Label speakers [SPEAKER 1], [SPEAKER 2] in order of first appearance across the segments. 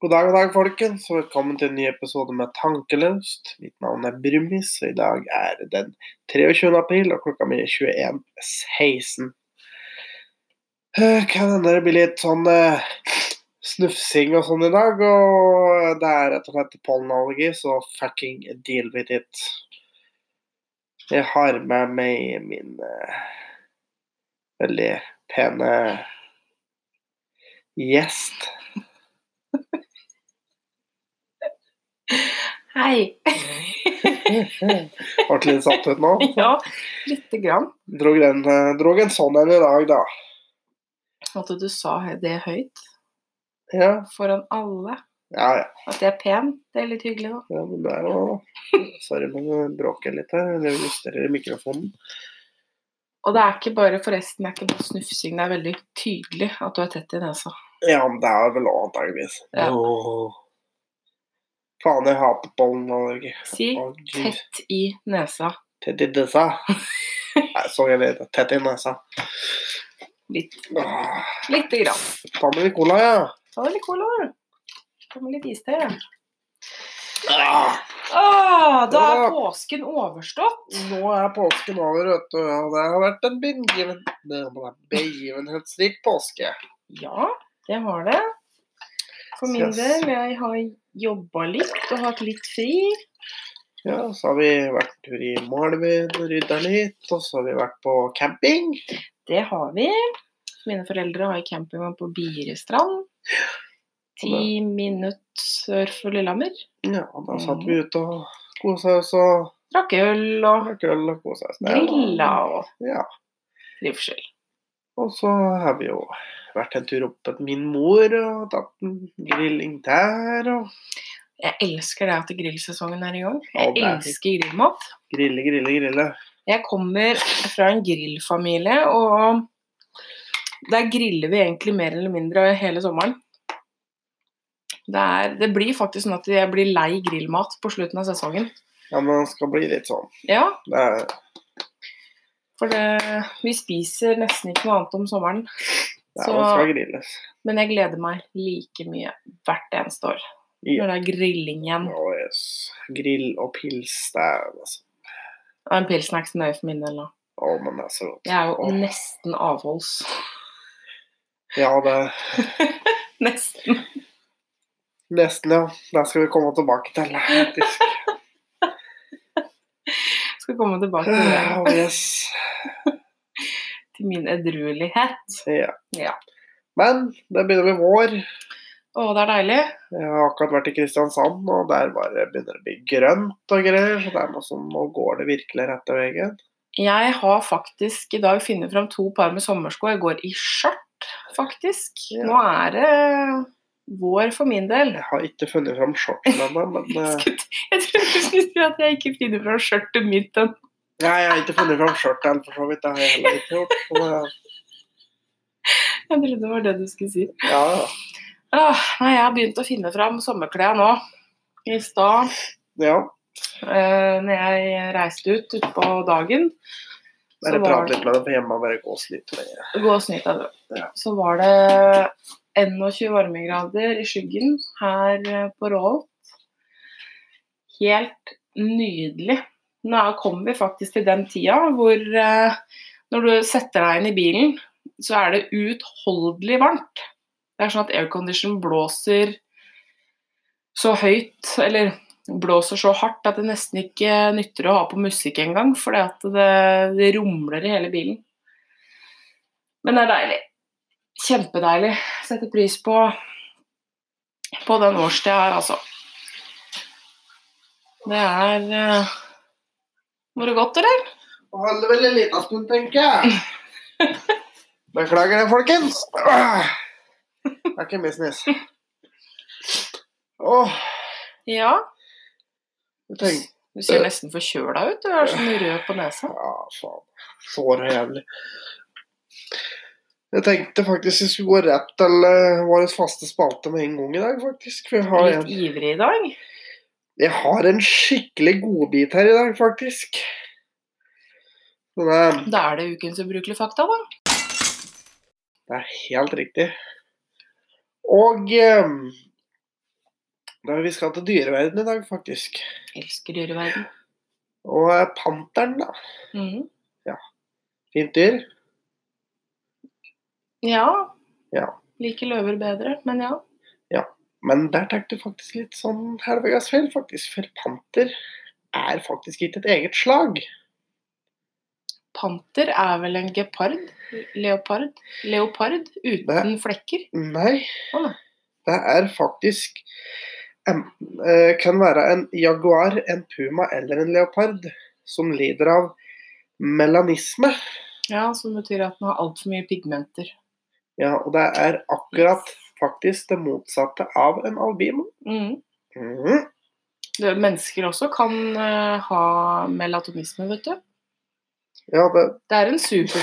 [SPEAKER 1] God dag, god dag, folkens, og velkommen til en ny episode med Tankelaust. Mitt navn er Brumis, og i dag er det den 23. april, og klokka mi er 21.16. Eh, Kan hende det blir litt sånn eh, snufsing og sånn i dag, og det er rett og slett pollenallergi, så fucking deal with it. Jeg har med meg min eh, veldig pene gjest.
[SPEAKER 2] Hei.
[SPEAKER 1] Ble litt satt ut nå.
[SPEAKER 2] ja, lite grann.
[SPEAKER 1] Drog en, drog en sånn en i dag, da.
[SPEAKER 2] At du sa hø- det høyt
[SPEAKER 1] Ja,
[SPEAKER 2] foran alle.
[SPEAKER 1] ja. ja.
[SPEAKER 2] At jeg er pen, det er litt hyggelig òg.
[SPEAKER 1] ja men det er jo Sorry, men jeg bråker litt her. Jeg justerer mikrofonen.
[SPEAKER 2] Og det er ikke bare forresten, det er ikke bare snufsing, det er veldig tydelig at du er tett i nesa.
[SPEAKER 1] Ja, men det er vel også antageligvis.
[SPEAKER 2] Ja.
[SPEAKER 1] Åh. Faen, jeg hater pollenallergi.
[SPEAKER 2] Si
[SPEAKER 1] Å, gud.
[SPEAKER 2] tett i nesa.
[SPEAKER 1] Tett i nesa. Nei, så jeg vet det. Tett i nesa.
[SPEAKER 2] Litt,
[SPEAKER 1] Åh.
[SPEAKER 2] lite grann.
[SPEAKER 1] Ta med litt cola, ja.
[SPEAKER 2] Ta deg litt cola. du. Ta med litt iste. ja.
[SPEAKER 1] Ah.
[SPEAKER 2] Å, da
[SPEAKER 1] Ja.
[SPEAKER 2] er påsken overstått.
[SPEAKER 1] Nå er påsken over, vet du. Og det har vært en begiven- det var en begivenhetsrik påske.
[SPEAKER 2] Ja, det var det. For min
[SPEAKER 1] Yes.
[SPEAKER 2] del, jeg har jobba litt og hatt litt fri.
[SPEAKER 1] Ja, så har vi vært en tur i Malvin og rydda litt, og så har vi vært på camping.
[SPEAKER 2] Det har vi. Mine foreldre har campingvogn på Bierestrand. Ti minutter sør for Lillehammer.
[SPEAKER 1] Ja, og da satt
[SPEAKER 2] Mm.
[SPEAKER 1] vi ute og kosa oss og
[SPEAKER 2] Drakk øl og
[SPEAKER 1] drakk øl og kosa oss. Det var-
[SPEAKER 2] grilla og
[SPEAKER 1] Ja.
[SPEAKER 2] trivsel.
[SPEAKER 1] Og så har vi jo vært en tur opp til min mor og tatt en grilling der, og
[SPEAKER 2] Jeg elsker det at grillsesongen er i gang.
[SPEAKER 1] Ja,
[SPEAKER 2] Jeg
[SPEAKER 1] det er
[SPEAKER 2] elsker grillmat.
[SPEAKER 1] grille, grille, grille.
[SPEAKER 2] Jeg kommer fra en grillfamilie, og der griller vi egentlig mer eller mindre hele sommeren. Det, er, det blir faktisk sånn at jeg blir lei grillmat på slutten av sesongen.
[SPEAKER 1] Ja, men det skal bli litt sånn.
[SPEAKER 2] Ja,
[SPEAKER 1] Det er,
[SPEAKER 2] For det, vi spiser nesten ikke noe annet om sommeren.
[SPEAKER 1] det er
[SPEAKER 2] Så-
[SPEAKER 1] man skal grilles.
[SPEAKER 2] Men jeg gleder meg like mye hvert eneste år.
[SPEAKER 1] Ja.
[SPEAKER 2] Når det er grilling igjen.
[SPEAKER 1] Å, yes. Grill og pils, det er altså
[SPEAKER 2] Og en pilsen er ikke så nøye for min del nå.
[SPEAKER 1] Å, men det er så godt.
[SPEAKER 2] Jeg er jo
[SPEAKER 1] Åh.
[SPEAKER 2] nesten avholds.
[SPEAKER 1] Ja, det
[SPEAKER 2] Nesten.
[SPEAKER 1] Nesten, ja. Der skal vi komme tilbake til. faktisk.
[SPEAKER 2] Skal komme tilbake til, det,
[SPEAKER 1] Oh, yes.
[SPEAKER 2] til min edruelighet.
[SPEAKER 1] ja.
[SPEAKER 2] Ja.
[SPEAKER 1] Men det begynner med vår.
[SPEAKER 2] Å, det er deilig.
[SPEAKER 1] Jeg har akkurat vært i Kristiansand, og der bare begynner det å bli grønt og greier. Så det er noe som, nå går det virkelig rett til veien.
[SPEAKER 2] Jeg har faktisk i dag funnet fram to par med sommersko. Jeg går i skjørt, faktisk.
[SPEAKER 1] Ja.
[SPEAKER 2] Nå er det vår for min del.
[SPEAKER 1] Jeg har ikke funnet fram shortsen ennå, men eh,
[SPEAKER 2] Skulle- Jeg trodde du skulle si at jeg ikke finner fram skjørtet mitt ennå.
[SPEAKER 1] Nei, jeg har ikke funnet fram skjørtet ennå, for så vidt. Det har jeg heller ikke gjort. Men, eh,
[SPEAKER 2] Jeg trodde det var det du skulle si.
[SPEAKER 1] ja, ja.
[SPEAKER 2] Åh, nei, jeg har begynt å finne fram sommerklær nå. I stad,
[SPEAKER 1] ja.
[SPEAKER 2] eh, når jeg reiste ut utpå dagen,
[SPEAKER 1] Bare
[SPEAKER 2] Så var
[SPEAKER 1] prate
[SPEAKER 2] det-
[SPEAKER 1] litt med dem på hjemme og bare gås litt med dem.
[SPEAKER 2] gå og snytt deg, du.
[SPEAKER 1] Ja.
[SPEAKER 2] Så var det 21 varmegrader i skyggen her eh, på Råholt. Helt nydelig. Nå kommer vi faktisk til den tida hvor eh, når du setter deg inn i bilen, så er det uutholdelig varmt. Det er sånn at aircondition blåser så høyt, eller blåser så hardt at det nesten ikke nytter å ha på musikk engang, fordi at det, det rumler i hele bilen. Men det er deilig. Kjempedeilig. Setter pris på, på den årstida her, altså. Det er uh, Var det godt, eller?
[SPEAKER 1] Og holder vel en liten stund, tenker jeg. Beklager det, folkens. Åh. Det er ikke business. Åh,
[SPEAKER 2] Ja.
[SPEAKER 1] jeg tenkte
[SPEAKER 2] Du ser nesten forkjøla ut. Du er sånn rød på nesa.
[SPEAKER 1] Ja, faen. Sår og jævlig. Jeg tenkte faktisk jeg skulle gå rett til eh, vår faste spalte med en gang i dag, faktisk. For jeg har
[SPEAKER 2] Litt
[SPEAKER 1] en,
[SPEAKER 2] ivrig i dag.
[SPEAKER 1] jeg har en skikkelig godbit her i dag, faktisk. Men eh,
[SPEAKER 2] Da er det ukens ubrukelige fakta, da.
[SPEAKER 1] Det er helt riktig. Og eh, Nei, vi skal til dyreverden i dag, faktisk.
[SPEAKER 2] Elsker dyreverden.
[SPEAKER 1] Og eh, panteren, da.
[SPEAKER 2] Mhm.
[SPEAKER 1] Fint dyr.
[SPEAKER 2] Ja.
[SPEAKER 1] Ja.
[SPEAKER 2] Liker løver bedre, men ja.
[SPEAKER 1] Men der tenkte du faktisk litt sånn halvveis feil, faktisk. For panter er faktisk ikke et eget slag.
[SPEAKER 2] Panter er vel en gepard? Leopard? Leopard uten flekker?
[SPEAKER 1] Nei.
[SPEAKER 2] Å nei.
[SPEAKER 1] Det er faktisk enten eh, kan være en jaguar, en puma eller en leopard som lider av melanisme.
[SPEAKER 2] Ja, som betyr at den har altfor mye pigmenter.
[SPEAKER 1] Ja, og det er akkurat faktisk det motsatte av en albino.
[SPEAKER 2] Mhm.
[SPEAKER 1] Mhm.
[SPEAKER 2] Det, mennesker også kan eh, ha melatonisme, vet du.
[SPEAKER 1] Ja, det
[SPEAKER 2] Det er en super...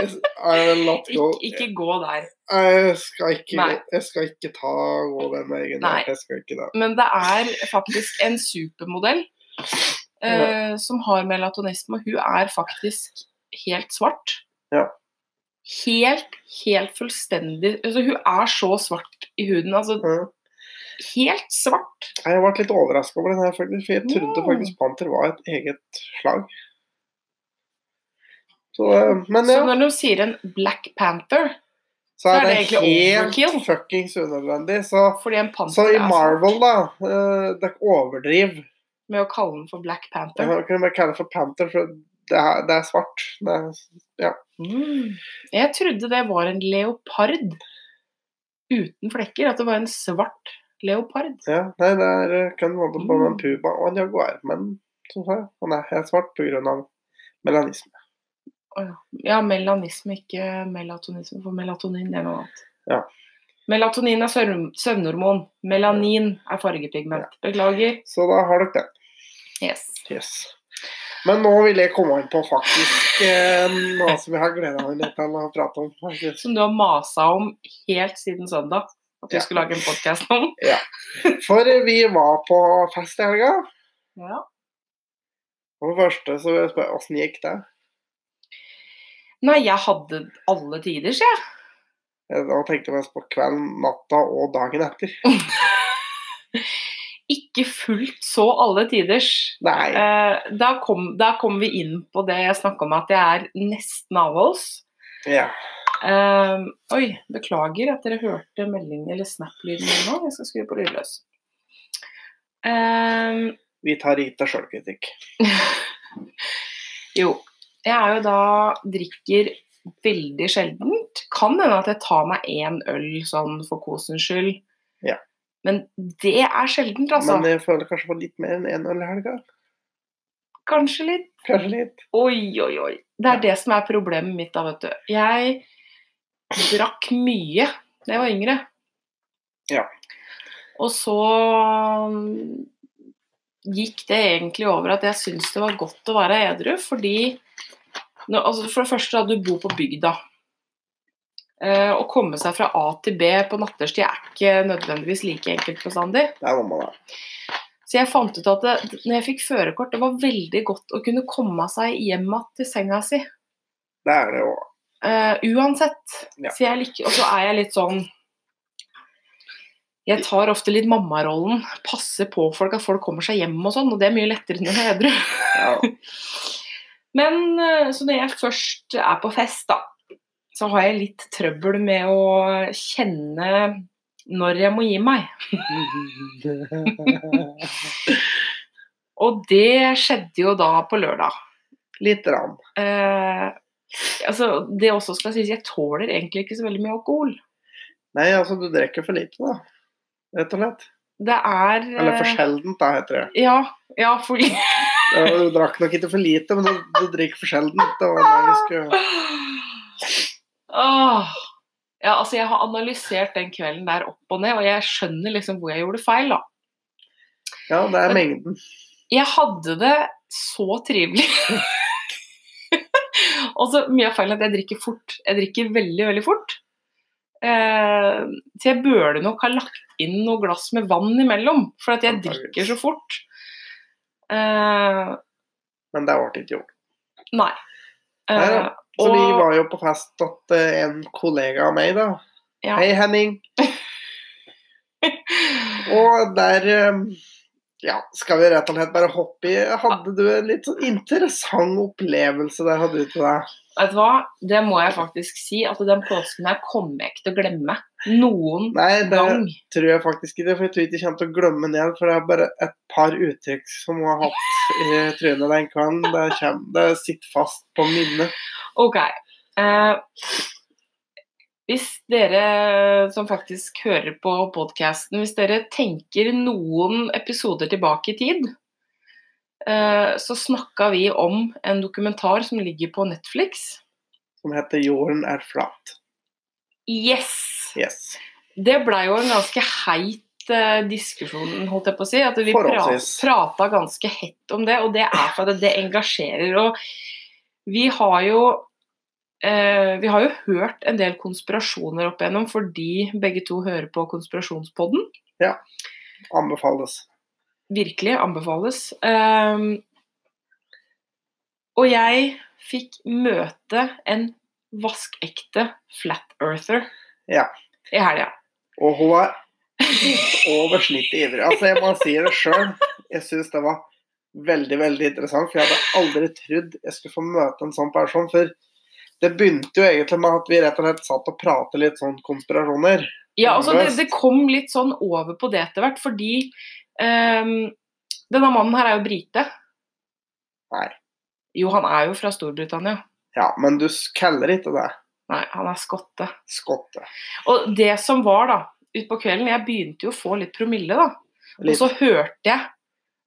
[SPEAKER 1] Yes, I'll not
[SPEAKER 2] Ikke,
[SPEAKER 1] go.
[SPEAKER 2] ikke gå der.
[SPEAKER 1] Jeg skal ikke,
[SPEAKER 2] Nei.
[SPEAKER 1] jeg skal ikke ta gå den veien.
[SPEAKER 2] Nei.
[SPEAKER 1] Jeg skal ikke det.
[SPEAKER 2] Men det er faktisk en supermodell eh, som har melatonisme, og hun er faktisk helt svart.
[SPEAKER 1] Ja.
[SPEAKER 2] Helt, helt fullstendig altså, Hun er så svart i huden. Altså
[SPEAKER 1] Ja.
[SPEAKER 2] helt svart.
[SPEAKER 1] Jeg ble litt overraska over den her, faktisk, for jeg trodde
[SPEAKER 2] Ja.
[SPEAKER 1] faktisk panter var et eget slag. Så, eh, men
[SPEAKER 2] Så
[SPEAKER 1] ja,
[SPEAKER 2] når de sier en Black Panther,
[SPEAKER 1] så
[SPEAKER 2] så
[SPEAKER 1] er
[SPEAKER 2] er
[SPEAKER 1] det
[SPEAKER 2] det egentlig overkill.
[SPEAKER 1] helt fuckings unødvendig. Så,
[SPEAKER 2] fordi en
[SPEAKER 1] så
[SPEAKER 2] panter
[SPEAKER 1] i
[SPEAKER 2] er
[SPEAKER 1] Marvel,
[SPEAKER 2] svart,
[SPEAKER 1] da eh, Det er overdriv.
[SPEAKER 2] med å kalle den for Black
[SPEAKER 1] Jeg
[SPEAKER 2] Panther
[SPEAKER 1] kan ikke bare kalle det for panter, for det er, det er svart. Det er,
[SPEAKER 2] mm. Jeg trodde det var en leopard uten flekker. At det var en svart leopard.
[SPEAKER 1] ja, nei, det er, eh, kan holde på med en
[SPEAKER 2] Mm.
[SPEAKER 1] puma og en jaguar, men som sagt, han er helt svart pga. melanisme.
[SPEAKER 2] Ja, melanisme, ikke melatonisme, for melatonin er noe annet.
[SPEAKER 1] Ja.
[SPEAKER 2] Melatonin er søvn- søvnhormon. Melanin er fargepigment. Beklager.
[SPEAKER 1] Så da har dere det.
[SPEAKER 2] Yes.
[SPEAKER 1] Yes. Men nå vil jeg komme inn på faktisk eh, noe som jeg har gleda meg litt til å prate om. faktisk.
[SPEAKER 2] Som du har masa om helt siden søndag. At du
[SPEAKER 1] Ja.
[SPEAKER 2] skulle lage en podkast om.
[SPEAKER 1] For vi var på fest i helga,
[SPEAKER 2] Ja.
[SPEAKER 1] og for det første så vil jeg spørre åssen gikk det?
[SPEAKER 2] Nei, jeg hadde alle tider, sier jeg.
[SPEAKER 1] Eh, Da tenkte jeg mest på kvelden, natta og dagen etter.
[SPEAKER 2] Ikke fullt så alle tiders.
[SPEAKER 1] Nei.
[SPEAKER 2] Eh, da, kom, da kom vi inn på det jeg snakka om, at jeg er nesten avholds.
[SPEAKER 1] Ja.
[SPEAKER 2] Ehm, oi, beklager at dere hørte meldingen eller snap-lyden min nå. Jeg skal skru på lydløs. Ehm,
[SPEAKER 1] Vi tar Rita sjølkritikk.
[SPEAKER 2] jo, jeg er jo da drikker veldig sjeldent. Kan hende at jeg tar meg én øl sånn for kosens skyld.
[SPEAKER 1] Ja.
[SPEAKER 2] Men det er sjeldent, altså.
[SPEAKER 1] Men jeg føler kanskje på litt mer enn én øl i helga.
[SPEAKER 2] Kanskje litt.
[SPEAKER 1] Kanskje litt.
[SPEAKER 2] Oi, oi, oi. Det er det som er problemet mitt da, vet du. Jeg drakk mye da jeg var yngre.
[SPEAKER 1] Ja.
[SPEAKER 2] Og så mm, gikk det egentlig over at jeg syntes det var godt å være edru, fordi nå, altså For det første, da, du bor på bygda. Eh, å komme seg fra A til B på natterstid er ikke nødvendigvis like enkelt bestandig.
[SPEAKER 1] Det er mamma, da.
[SPEAKER 2] Så jeg fant ut at det, når jeg fikk førerkort, det var veldig godt å kunne komme seg hjem igjen til senga si.
[SPEAKER 1] Det er det jo.
[SPEAKER 2] Eh, uansett.
[SPEAKER 1] Ja.
[SPEAKER 2] Så jeg liker, og så er jeg litt sånn Jeg tar ofte litt mammarollen. Passer på folk, at folk kommer seg hjem og sånn. Og det er mye lettere når jeg er edru.
[SPEAKER 1] Ja.
[SPEAKER 2] Men eh, så når jeg først er på fest, da, så har jeg litt trøbbel med å kjenne når jeg må gi meg. Og det skjedde jo da på lørdag.
[SPEAKER 1] Litt rann.
[SPEAKER 2] Eh, altså, det også skal sies, jeg tåler egentlig ikke så veldig mye alkohol.
[SPEAKER 1] Nei, altså, du drikker for lite, da. Rett og slett.
[SPEAKER 2] Det er
[SPEAKER 1] Eller for
[SPEAKER 2] eh,
[SPEAKER 1] sjeldent, da, heter det.
[SPEAKER 2] Ja, ja for
[SPEAKER 1] Ja, Du drakk nok ikke for lite, men du, du drikker for sjelden. Det var det vi skulle...
[SPEAKER 2] Åh. Ja, altså jeg har analysert den kvelden der opp og ned, og jeg skjønner liksom hvor jeg gjorde feil, da.
[SPEAKER 1] Ja, det er mengden.
[SPEAKER 2] Jeg hadde det så trivelig. og så mye av feilen er at jeg drikker fort. Jeg drikker veldig, veldig fort. Eh, så jeg burde nok ha lagt inn noe glass med vann imellom, for at jeg drikker så fort. Eh,
[SPEAKER 1] Men det ble ikke gjort. Nei
[SPEAKER 2] nei. Eh,
[SPEAKER 1] da. Så vi var jo på fest hos eh, en kollega av meg, da.
[SPEAKER 2] Ja.
[SPEAKER 1] Hei, Henning. Og der eh, ja, skal vi rett og slett bare hoppe i. Hadde du en litt sånn interessant opplevelse der hadde du til deg?
[SPEAKER 2] Vet du hva, det må jeg faktisk si, at den påsken her kommer jeg ikke til å glemme noen
[SPEAKER 1] Nei, det
[SPEAKER 2] gang.
[SPEAKER 1] tror jeg faktisk ikke, for jeg tror ikke jeg kommer til å glemme den igjen. For det er bare et par uttrykk som hun har hatt i trynet den kvelden. Det, kommer, det sitter fast på minnet.
[SPEAKER 2] Ok. eh, hvis dere som faktisk hører på podkasten, hvis dere tenker noen episoder tilbake i tid, eh, så snakka vi om en dokumentar som ligger på Netflix.
[SPEAKER 1] Som heter 'Jorden er flat'.
[SPEAKER 2] Yes!
[SPEAKER 1] Yes.
[SPEAKER 2] Det blei jo en ganske heit eh, diskusjon, holdt jeg på å si. At vi
[SPEAKER 1] Forholdsvis.
[SPEAKER 2] prata ganske hett om det, og det er for at det engasjerer. Og vi har jo eh, vi har jo hørt en del konspirasjoner opp igjennom fordi begge to hører på Konspirasjonspodden.
[SPEAKER 1] Anbefales.
[SPEAKER 2] Virkelig anbefales. Eh, og jeg fikk møte en vaskekte flat earther
[SPEAKER 1] Ja.
[SPEAKER 2] i helga.
[SPEAKER 1] Og hun er over snittet ivrig. Altså, jeg må si det sjøl. Jeg syns det var veldig, veldig interessant, for jeg hadde aldri trodd jeg skulle få møte en sånn person. For det begynte jo egentlig med at vi rett og slett satt og pratet litt sånn konspirasjoner.
[SPEAKER 2] Ja, altså det,
[SPEAKER 1] Best.
[SPEAKER 2] det kom litt sånn over på det etter hvert, fordi ehm, denne mannen her er jo brite.
[SPEAKER 1] Nei.
[SPEAKER 2] Jo, han er jo fra Storbritannia.
[SPEAKER 1] Ja, men du kaller ikke det
[SPEAKER 2] Nei, han er skotte.
[SPEAKER 1] skotte.
[SPEAKER 2] Og det som var da, utpå kvelden, jeg begynte jo å få litt promille da. Og
[SPEAKER 1] Litt.
[SPEAKER 2] så hørte jeg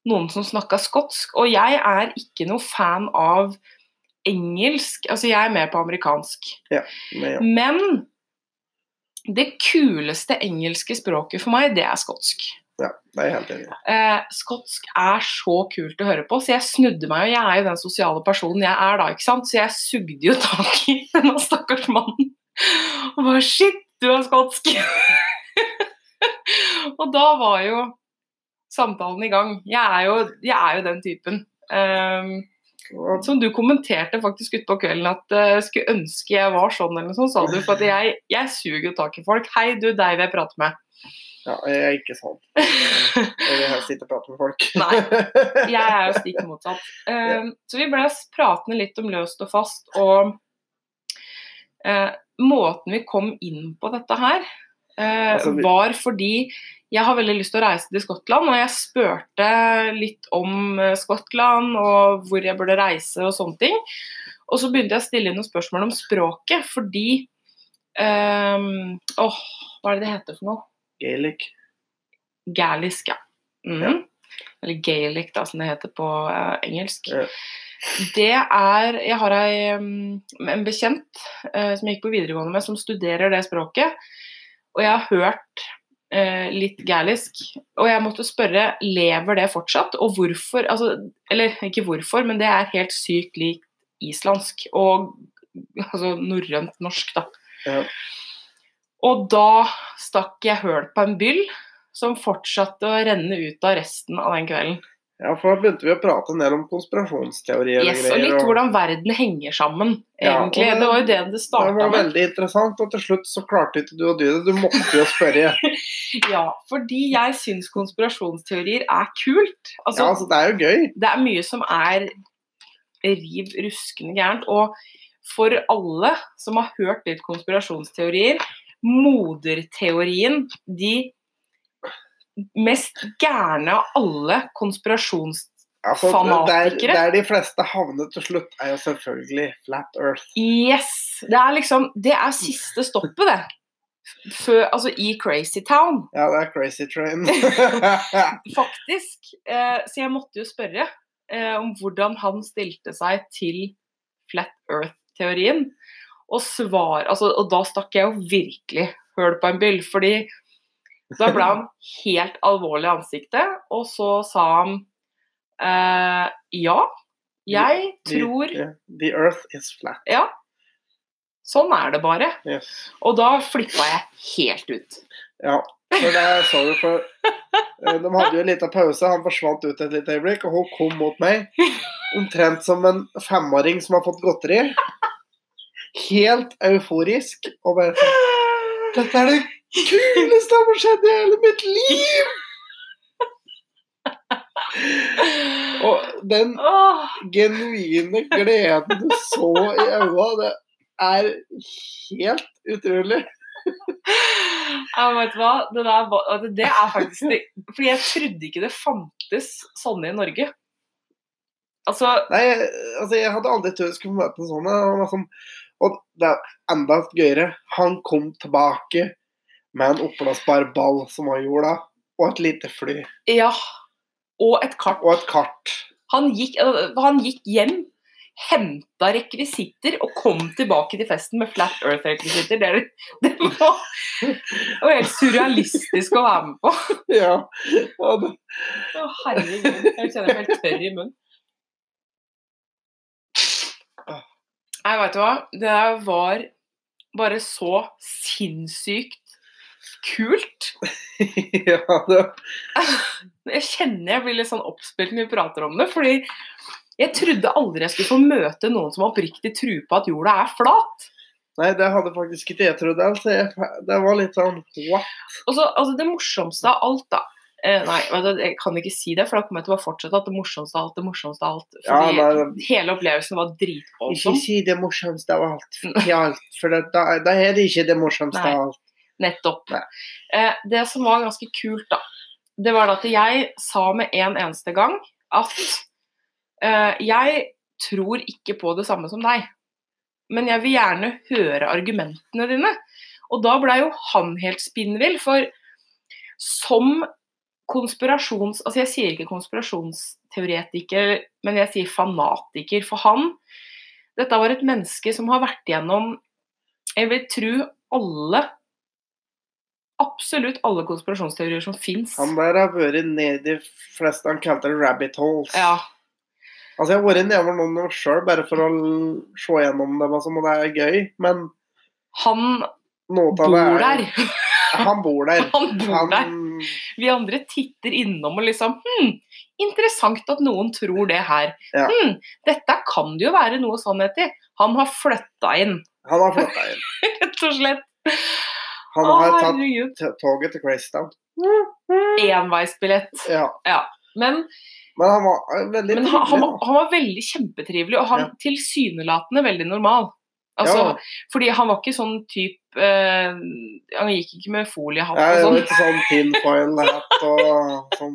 [SPEAKER 2] noen som snakka skotsk, og jeg er ikke noe fan av engelsk. Altså jeg er mer på amerikansk.
[SPEAKER 1] Men, ja.
[SPEAKER 2] Men det kuleste engelske språket for meg, det er skotsk.
[SPEAKER 1] ja, det er jeg helt enig. i.
[SPEAKER 2] Eh, skotsk er så kult å høre på, så jeg snudde meg, og jeg er jo den sosiale personen jeg er da, ikke sant? Så jeg sugde jo tak i denne stakkars mannen. Og bare shit, du er skotsk! og da var jo samtalen i gang. Jeg er jo, jeg er jo den typen. Ehm,
[SPEAKER 1] Og
[SPEAKER 2] som du kommenterte faktisk utpå kvelden, at eh, skulle ønske jeg var sånn, eller noe sånt, sa du. For at jeg, jeg suger jo tak i folk. Hei, du, deg vil jeg prate med.
[SPEAKER 1] Ja, jeg er ikke sånn. Jeg vil helst ikke prate med folk.
[SPEAKER 2] Nei. jeg er jo stikk motsatt. Eh, så vi ble pratende litt om løst og fast, og eh, måten vi kom inn på dette her, eh,
[SPEAKER 1] Altså, vi-
[SPEAKER 2] var fordi jeg har veldig lyst til å reise til Skottland, og jeg spurte litt om eh, Skottland og hvor jeg burde reise og sånne ting. Og så begynte jeg å stille noen spørsmål om språket, fordi eh, Åh, hva er det det heter for noe?
[SPEAKER 1] Gaelic.
[SPEAKER 2] Gaelisk, ja. Mhm.
[SPEAKER 1] Ja.
[SPEAKER 2] Eller gaelic, da, som det heter på eh, engelsk.
[SPEAKER 1] Ja.
[SPEAKER 2] Det er Jeg har ei, mm, en bekjent eh, som jeg gikk på videregående med, som studerer det språket. Og jeg har hørt eh, litt gaelisk. Og jeg måtte spørre lever det fortsatt, og hvorfor altså, Eller ikke hvorfor, men det er helt sykt likt islandsk. Og altså norrønt norsk, da.
[SPEAKER 1] Ja.
[SPEAKER 2] Og da stakk jeg høl på en byll som fortsatte å renne ut av resten av den kvelden.
[SPEAKER 1] Ja, for da begynte vi å prate en del om konspirasjonsteorier
[SPEAKER 2] Yes, og litt hvordan verden henger sammen,
[SPEAKER 1] Ja, og
[SPEAKER 2] egentlig.
[SPEAKER 1] det-
[SPEAKER 2] Det var jo det det
[SPEAKER 1] Det
[SPEAKER 2] starta
[SPEAKER 1] var
[SPEAKER 2] med.
[SPEAKER 1] veldig interessant, og til slutt så klarte ikke du å dy deg. Du måtte jo spørre.
[SPEAKER 2] Ja, fordi jeg syns konspirasjonsteorier er kult.
[SPEAKER 1] Ja,
[SPEAKER 2] Altså,
[SPEAKER 1] altså, det er jo gøy.
[SPEAKER 2] det er mye som er riv ruskende gærent. Og for alle som har hørt litt konspirasjonsteorier, moderteorien de mest gærne av alle konspirasjonsteorier
[SPEAKER 1] Altså, der,
[SPEAKER 2] Fanatikere.
[SPEAKER 1] der de fleste havner til slutt, er jo selvfølgelig flat earth.
[SPEAKER 2] Yes! Det er liksom Det er siste stoppet, det. Før, altså i Crazy Town,
[SPEAKER 1] Ja, det er crazy train. ja,
[SPEAKER 2] faktisk. Eh, så jeg måtte jo spørre eh, om hvordan han stilte seg til flat earth-teorien. Og svar altså, Og da stakk jeg jo virkelig høl på en byll, fordi da ble han helt alvorlig i ansiktet, og så sa han eh, ja, jeg
[SPEAKER 1] De-
[SPEAKER 2] tror
[SPEAKER 1] the earth is flat.
[SPEAKER 2] Ja. Sånn er det bare.
[SPEAKER 1] Yes.
[SPEAKER 2] Og da flippa jeg helt ut.
[SPEAKER 1] Ja, for det så du for eh, De hadde jo en liten pause, han forsvant ut et lite øyeblikk, og hun kom mot meg omtrent som en femåring som har fått godteri. Helt euforisk. Og bare sånn Dette er det kuleste som har skjedd i hele mitt liv! Og den
[SPEAKER 2] Åh,
[SPEAKER 1] genuine gleden du så i øynene, det er helt utrolig.
[SPEAKER 2] ja, vet du hva? Det, der, var- det- det er faktisk det. Fordi jeg trodde ikke det fantes sånne i Norge. Altså,
[SPEAKER 1] Nei, jeg- altså jeg hadde aldri trodd jeg skulle få møte en sånn. jeg var sånn- Og det er enda gøyere. Han kom tilbake med en oppblåsbar ball som var jorda, og et lite fly.
[SPEAKER 2] ja. Og et kart.
[SPEAKER 1] Og et kart.
[SPEAKER 2] Han gikk, eh, han gikk hjem, henta rekvisitter og kom tilbake til festen med Flat Earth-rekvisitter. Det, er- det, var- det var helt surrealistisk å være med på.
[SPEAKER 1] Ja. Og det,
[SPEAKER 2] Å, herregud. Jeg kjenner meg helt tørr i munnen. Nei, veit du hva. Det der var bare så sinnssykt kult.
[SPEAKER 1] ja, det,
[SPEAKER 2] Jeg kjenner jeg blir litt sånn oppspilt når vi prater om det, fordi jeg trodde aldri jeg skulle få møte noen som oppriktig truer på at jorda er flat.
[SPEAKER 1] nei, det hadde faktisk ikke jeg trodd. Altså, jeg, det var litt sånn what?
[SPEAKER 2] Og så, altså Det morsomste av alt, da eh, Nei, vet du, jeg kan ikke si det, for da kommer jeg til å fortsette at det morsomste av alt, det morsomste av alt.
[SPEAKER 1] Ja,
[SPEAKER 2] Fordi
[SPEAKER 1] nei,
[SPEAKER 2] hele opplevelsen var
[SPEAKER 1] Ikke
[SPEAKER 2] dritvoldsom.
[SPEAKER 1] si det morsomste av alt, i alt, for det, da, da er det ikke det morsomste
[SPEAKER 2] Nei.
[SPEAKER 1] av alt.
[SPEAKER 2] Nettopp.
[SPEAKER 1] Nei.
[SPEAKER 2] Eh, det som var ganske kult, da, det var at jeg sa med en eneste gang at eh, jeg tror ikke på det samme som deg, men jeg vil gjerne høre argumentene dine. Og da blei jo han helt spinnvill, for som konspirasjons... Altså, jeg sier ikke konspirasjonsteoretiker, men jeg sier fanatiker, for han Dette var et menneske som har vært gjennom Jeg vil tro alle absolutt alle konspirasjonsteorier som fins.
[SPEAKER 1] Han der har vært ned i flest han kalte det rabbit holes.
[SPEAKER 2] Ja,
[SPEAKER 1] Altså, jeg har vært nedover noen år sjøl, bare for å l- se gjennom dem, altså, og det er gøy, men
[SPEAKER 2] han
[SPEAKER 1] noe av det
[SPEAKER 2] bor
[SPEAKER 1] er
[SPEAKER 2] der.
[SPEAKER 1] Han bor der.
[SPEAKER 2] Han bor der.
[SPEAKER 1] Han-
[SPEAKER 2] Vi andre titter innom og liksom Hm, interessant at noen tror det her.
[SPEAKER 1] Ja.
[SPEAKER 2] Hm, dette kan det jo være noe sannhet i. Han har flytta inn,
[SPEAKER 1] han har flytta inn.
[SPEAKER 2] rett og slett.
[SPEAKER 1] Han
[SPEAKER 2] Å,
[SPEAKER 1] har tatt
[SPEAKER 2] herregud.
[SPEAKER 1] t- toget til Greystown.
[SPEAKER 2] Enveisbillett.
[SPEAKER 1] Ja.
[SPEAKER 2] Men,
[SPEAKER 1] Men han var eh, veldig
[SPEAKER 2] men han, han, var,
[SPEAKER 1] trivelig,
[SPEAKER 2] han var veldig kjempetrivelig, og han
[SPEAKER 1] Ja.
[SPEAKER 2] tilsynelatende veldig normal.
[SPEAKER 1] da.
[SPEAKER 2] Altså,
[SPEAKER 1] Ja.
[SPEAKER 2] Fordi han var ikke sånn type eh, Han gikk ikke med foliehatt
[SPEAKER 1] Ja,
[SPEAKER 2] og
[SPEAKER 1] jeg
[SPEAKER 2] sånn.
[SPEAKER 1] vet sånn tinfoil hat og sånn.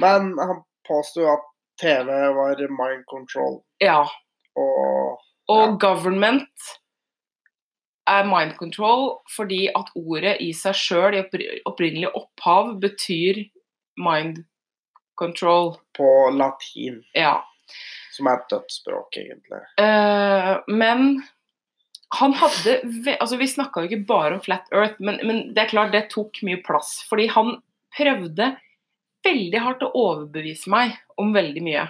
[SPEAKER 1] Men han påsto at TV var mind control,
[SPEAKER 2] Ja.
[SPEAKER 1] og
[SPEAKER 2] Og
[SPEAKER 1] Ja.
[SPEAKER 2] government er mind control fordi at ordet i seg sjøl i oppri- opprinnelig opphav betyr mind control.
[SPEAKER 1] på latin,
[SPEAKER 2] Ja.
[SPEAKER 1] som er et dødsspråk, egentlig.
[SPEAKER 2] Eh, men han hadde ve Altså, vi snakka jo ikke bare om Flat Earth, men, men det er klart det tok mye plass. Fordi han prøvde veldig hardt å overbevise meg om veldig mye.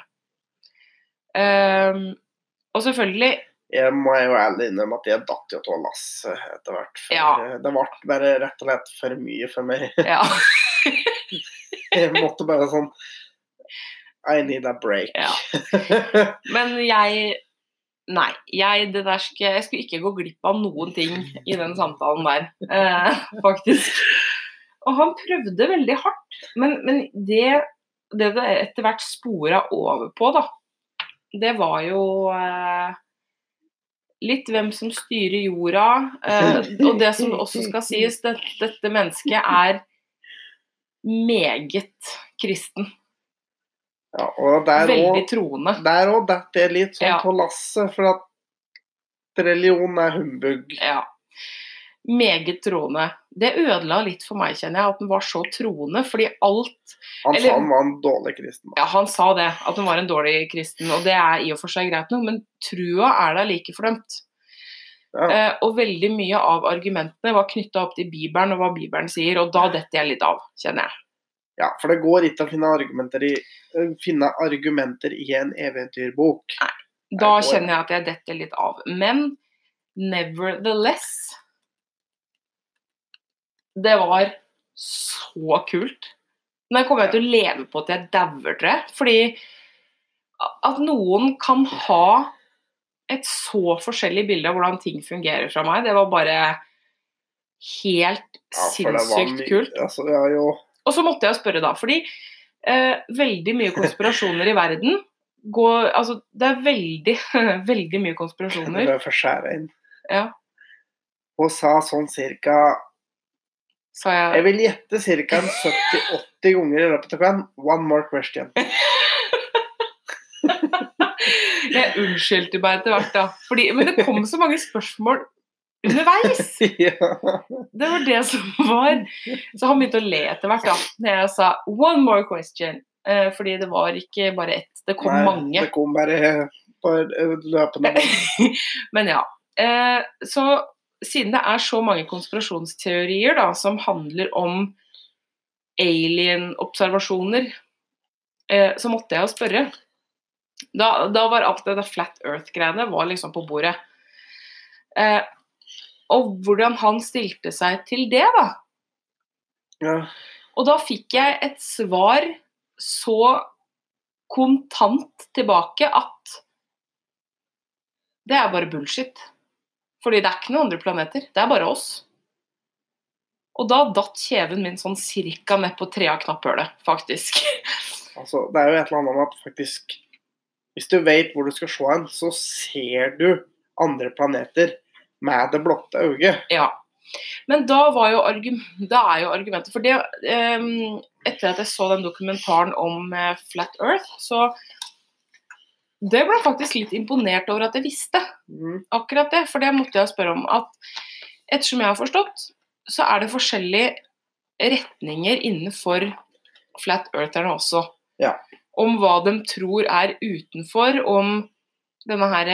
[SPEAKER 2] Eh, og selvfølgelig
[SPEAKER 1] Jeg må jo ærlig innrømme at jeg datt jo av lasset etter hvert. for eh,
[SPEAKER 2] Ja.
[SPEAKER 1] Det ble bare rett og slett for mye for meg.
[SPEAKER 2] Ja.
[SPEAKER 1] Jeg måtte bare sånn I need a break.
[SPEAKER 2] Ja. Men jeg Nei. Jeg, det der skulle, jeg skulle ikke gå glipp av noen ting i den samtalen der, eh, faktisk. Og han prøvde veldig hardt. Men, men det, det det etter hvert spora over på, da, det var jo eh, litt hvem som styrer jorda. Eh, og det som også skal sies, det, dette mennesket er meget kristen.
[SPEAKER 1] Ja, og der
[SPEAKER 2] Veldig
[SPEAKER 1] også-
[SPEAKER 2] troende.
[SPEAKER 1] der òg datt jeg litt sånn
[SPEAKER 2] Ja.
[SPEAKER 1] av lasset, for at religion er humbug.
[SPEAKER 2] Ja. Meget troende. Det ødela litt for meg, kjenner jeg, at den var så troende. Fordi alt
[SPEAKER 1] Han
[SPEAKER 2] Eller-
[SPEAKER 1] sa Altså, han var en dårlig kristen.
[SPEAKER 2] Ja, han sa det, at hun var en dårlig kristen, og det er i og for seg greit nok, men trua er da like fordømt.
[SPEAKER 1] Ja.
[SPEAKER 2] Eh, og veldig mye av argumentene var knytta opp til Bibelen og hva Bibelen sier, og da detter jeg litt av, kjenner jeg.
[SPEAKER 1] Ja, for det går ikke å finne argumenter i, eh, finne argumenter i en eventyrbok.
[SPEAKER 2] Da
[SPEAKER 1] Jeg går.
[SPEAKER 2] kjenner jeg at jeg detter litt av. Men nevertheless Det var så kult. Den kommer jeg til å leve på til jeg dauer, tror jeg. Fordi at noen kan ha et så forskjellig bilde av hvordan ting fungerer fra meg, det var bare helt
[SPEAKER 1] Ja, for det var
[SPEAKER 2] sinnssykt
[SPEAKER 1] mye-
[SPEAKER 2] kult.
[SPEAKER 1] Altså, ja, jo.
[SPEAKER 2] Og så måtte jeg spørre da, fordi eh, veldig mye konspirasjoner i verden. Går, altså, det er veldig, veldig mye
[SPEAKER 1] Det bør
[SPEAKER 2] konspirasjoner.
[SPEAKER 1] jeg først skjære inn.
[SPEAKER 2] Ja,
[SPEAKER 1] Hun sa sånn cirka
[SPEAKER 2] sa
[SPEAKER 1] Jeg
[SPEAKER 2] jeg.
[SPEAKER 1] vil gjette ca. 70-80 ganger i løpet av kvelden. One more question.
[SPEAKER 2] Jeg unnskyldte meg etter hvert, da. Fordi, men det kom så mange spørsmål underveis.
[SPEAKER 1] ja.
[SPEAKER 2] Det var det som var. Så han begynte å le etter hvert, da. Når jeg sa 'one more question'. Eh, fordi det var ikke bare ett, det kom
[SPEAKER 1] Nei,
[SPEAKER 2] mange.
[SPEAKER 1] Det kom bare på løpende bånd.
[SPEAKER 2] Men ja. Eh, så siden det er så mange konspirasjonsteorier da, som handler om alien-observasjoner, eh, så måtte jeg jo spørre. Da, da var alt det der flat earth-greiene var liksom på bordet. Eh, og hvordan han stilte seg til det, da.
[SPEAKER 1] Ja.
[SPEAKER 2] Og da fikk jeg et svar så kontant tilbake at det er bare bullshit. Fordi det er ikke noen andre planeter, det er bare oss. Og da datt kjeven min sånn cirka ned på trea knapphølet, faktisk.
[SPEAKER 1] Altså, det er jo et eller annet om at faktisk Hvis du vet hvor du skal se hen, så ser du andre planeter med det blotte øyet.
[SPEAKER 2] Ja. Men da, var jo argu- da er jo argumentet For det, ehm, etter at jeg så den dokumentaren om eh, Flat Earth, så Det ble jeg faktisk litt imponert over at jeg visste.
[SPEAKER 1] Mm.
[SPEAKER 2] akkurat det, for det måtte jeg spørre om. At ettersom jeg har forstått, så er det forskjellige retninger innenfor flat eartherne også.
[SPEAKER 1] Ja.
[SPEAKER 2] Om hva de tror er utenfor, om denne her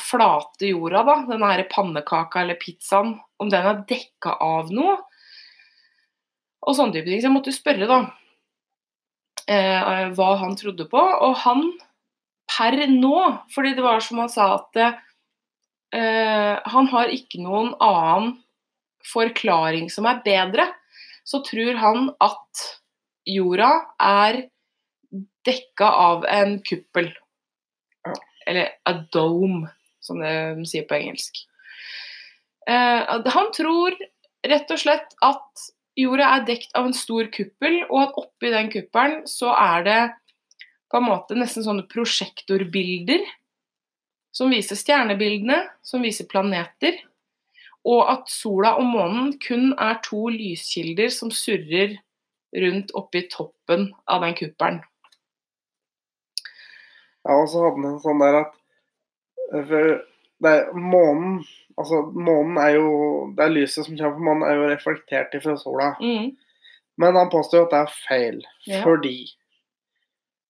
[SPEAKER 2] flate jorda, da, denne her pannekaka eller pizzaen, om den er dekka av noe. Og sånne type ting. Så jeg måtte jo spørre, da, eh, hva han trodde på. Og han per nå. Fordi det var som han sa at eh, han har ikke noen annen forklaring som er bedre. Så tror han at jorda er dekka av en kuppel.
[SPEAKER 1] Ja.
[SPEAKER 2] Eller a dome, som de sier på engelsk. Eh, at han tror rett og slett at jorda er dekt av en stor kuppel, og at oppi den kuppelen så er det på en måte nesten sånne prosjektorbilder som viser stjernebildene, som viser planeter, og at sola og månen kun er to lyskilder som surrer rundt oppi toppen av den kuppelen.
[SPEAKER 1] Ja, og så hadde han en sånn der at eh, for det er, Månen Altså, månen er jo Det er lyset som kommer fra månen, er jo reflektert ifra sola.
[SPEAKER 2] Mm.
[SPEAKER 1] Men han påstår jo at det er feil,
[SPEAKER 2] Ja.
[SPEAKER 1] fordi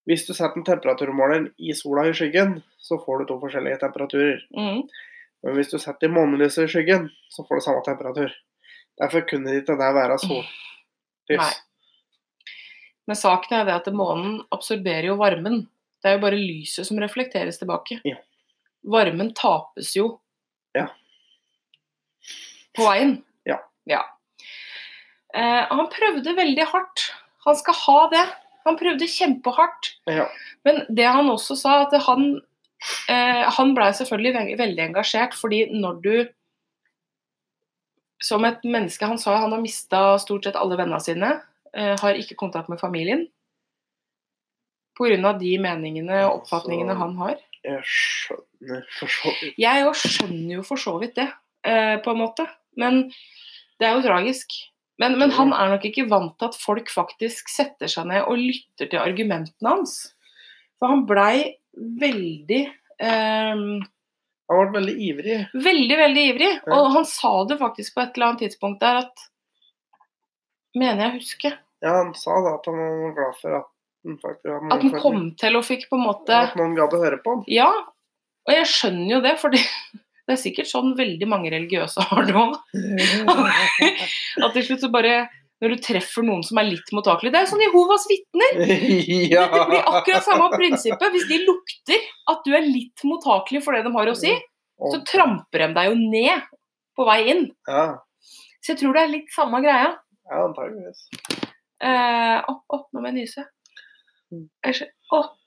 [SPEAKER 1] hvis du setter en temperaturmåler i sola i skyggen, så får du to forskjellige temperaturer.
[SPEAKER 2] Mm.
[SPEAKER 1] Men hvis du setter månelyset i skyggen, så får du samme temperatur. Derfor kunne det ikke der være sollys.
[SPEAKER 2] Nei. Men saken er det at månen absorberer jo varmen. Det er jo bare lyset som reflekteres tilbake.
[SPEAKER 1] Ja.
[SPEAKER 2] Varmen tapes jo.
[SPEAKER 1] Ja.
[SPEAKER 2] På veien.
[SPEAKER 1] Ja.
[SPEAKER 2] Eh, han prøvde veldig hardt. Han skal ha det. Han prøvde kjempehardt.
[SPEAKER 1] Ja.
[SPEAKER 2] Men det han også sa, at han, eh, han blei selvfølgelig ve veldig engasjert, fordi når du Som et menneske Han sa han har mista stort sett alle vennene sine, eh, har ikke kontakt med familien. Pga. de meningene og oppfatningene
[SPEAKER 1] Altså-
[SPEAKER 2] han har.
[SPEAKER 1] Jeg skjønner for så vidt.
[SPEAKER 2] Jeg òg skjønner jo for så vidt det, eh, på en måte. Men det er jo tragisk. Men, men han er nok ikke vant til at folk faktisk setter seg ned og lytter til argumentene hans. For han blei veldig eh,
[SPEAKER 1] Han ble veldig ivrig.
[SPEAKER 2] Veldig, veldig ivrig.
[SPEAKER 1] Ja.
[SPEAKER 2] Og han sa det faktisk på et eller annet tidspunkt der at Mener jeg husker.
[SPEAKER 1] Ja, han sa da at han var glad for at han faktisk at
[SPEAKER 2] At han
[SPEAKER 1] faktisk-
[SPEAKER 2] kom til og fikk på en måte
[SPEAKER 1] At noen gadd å høre på han.
[SPEAKER 2] Ja, og jeg skjønner jo det, for det, det er sikkert sånn veldig mange religiøse har det òg. At til slutt så bare Når du treffer noen som er litt mottakelig Det er sånn Jehovas vitner.
[SPEAKER 1] ja.
[SPEAKER 2] Det blir akkurat samme prinsippet. Hvis de lukter at du er litt mottakelig for det de har å si, så
[SPEAKER 1] Og-
[SPEAKER 2] tramper de deg jo ned på vei inn.
[SPEAKER 1] Ja,
[SPEAKER 2] Så jeg tror det er litt samme greia.
[SPEAKER 1] ja antageligvis.
[SPEAKER 2] Eh, Å, å, nå må jeg nyse. Jeg skjø- å.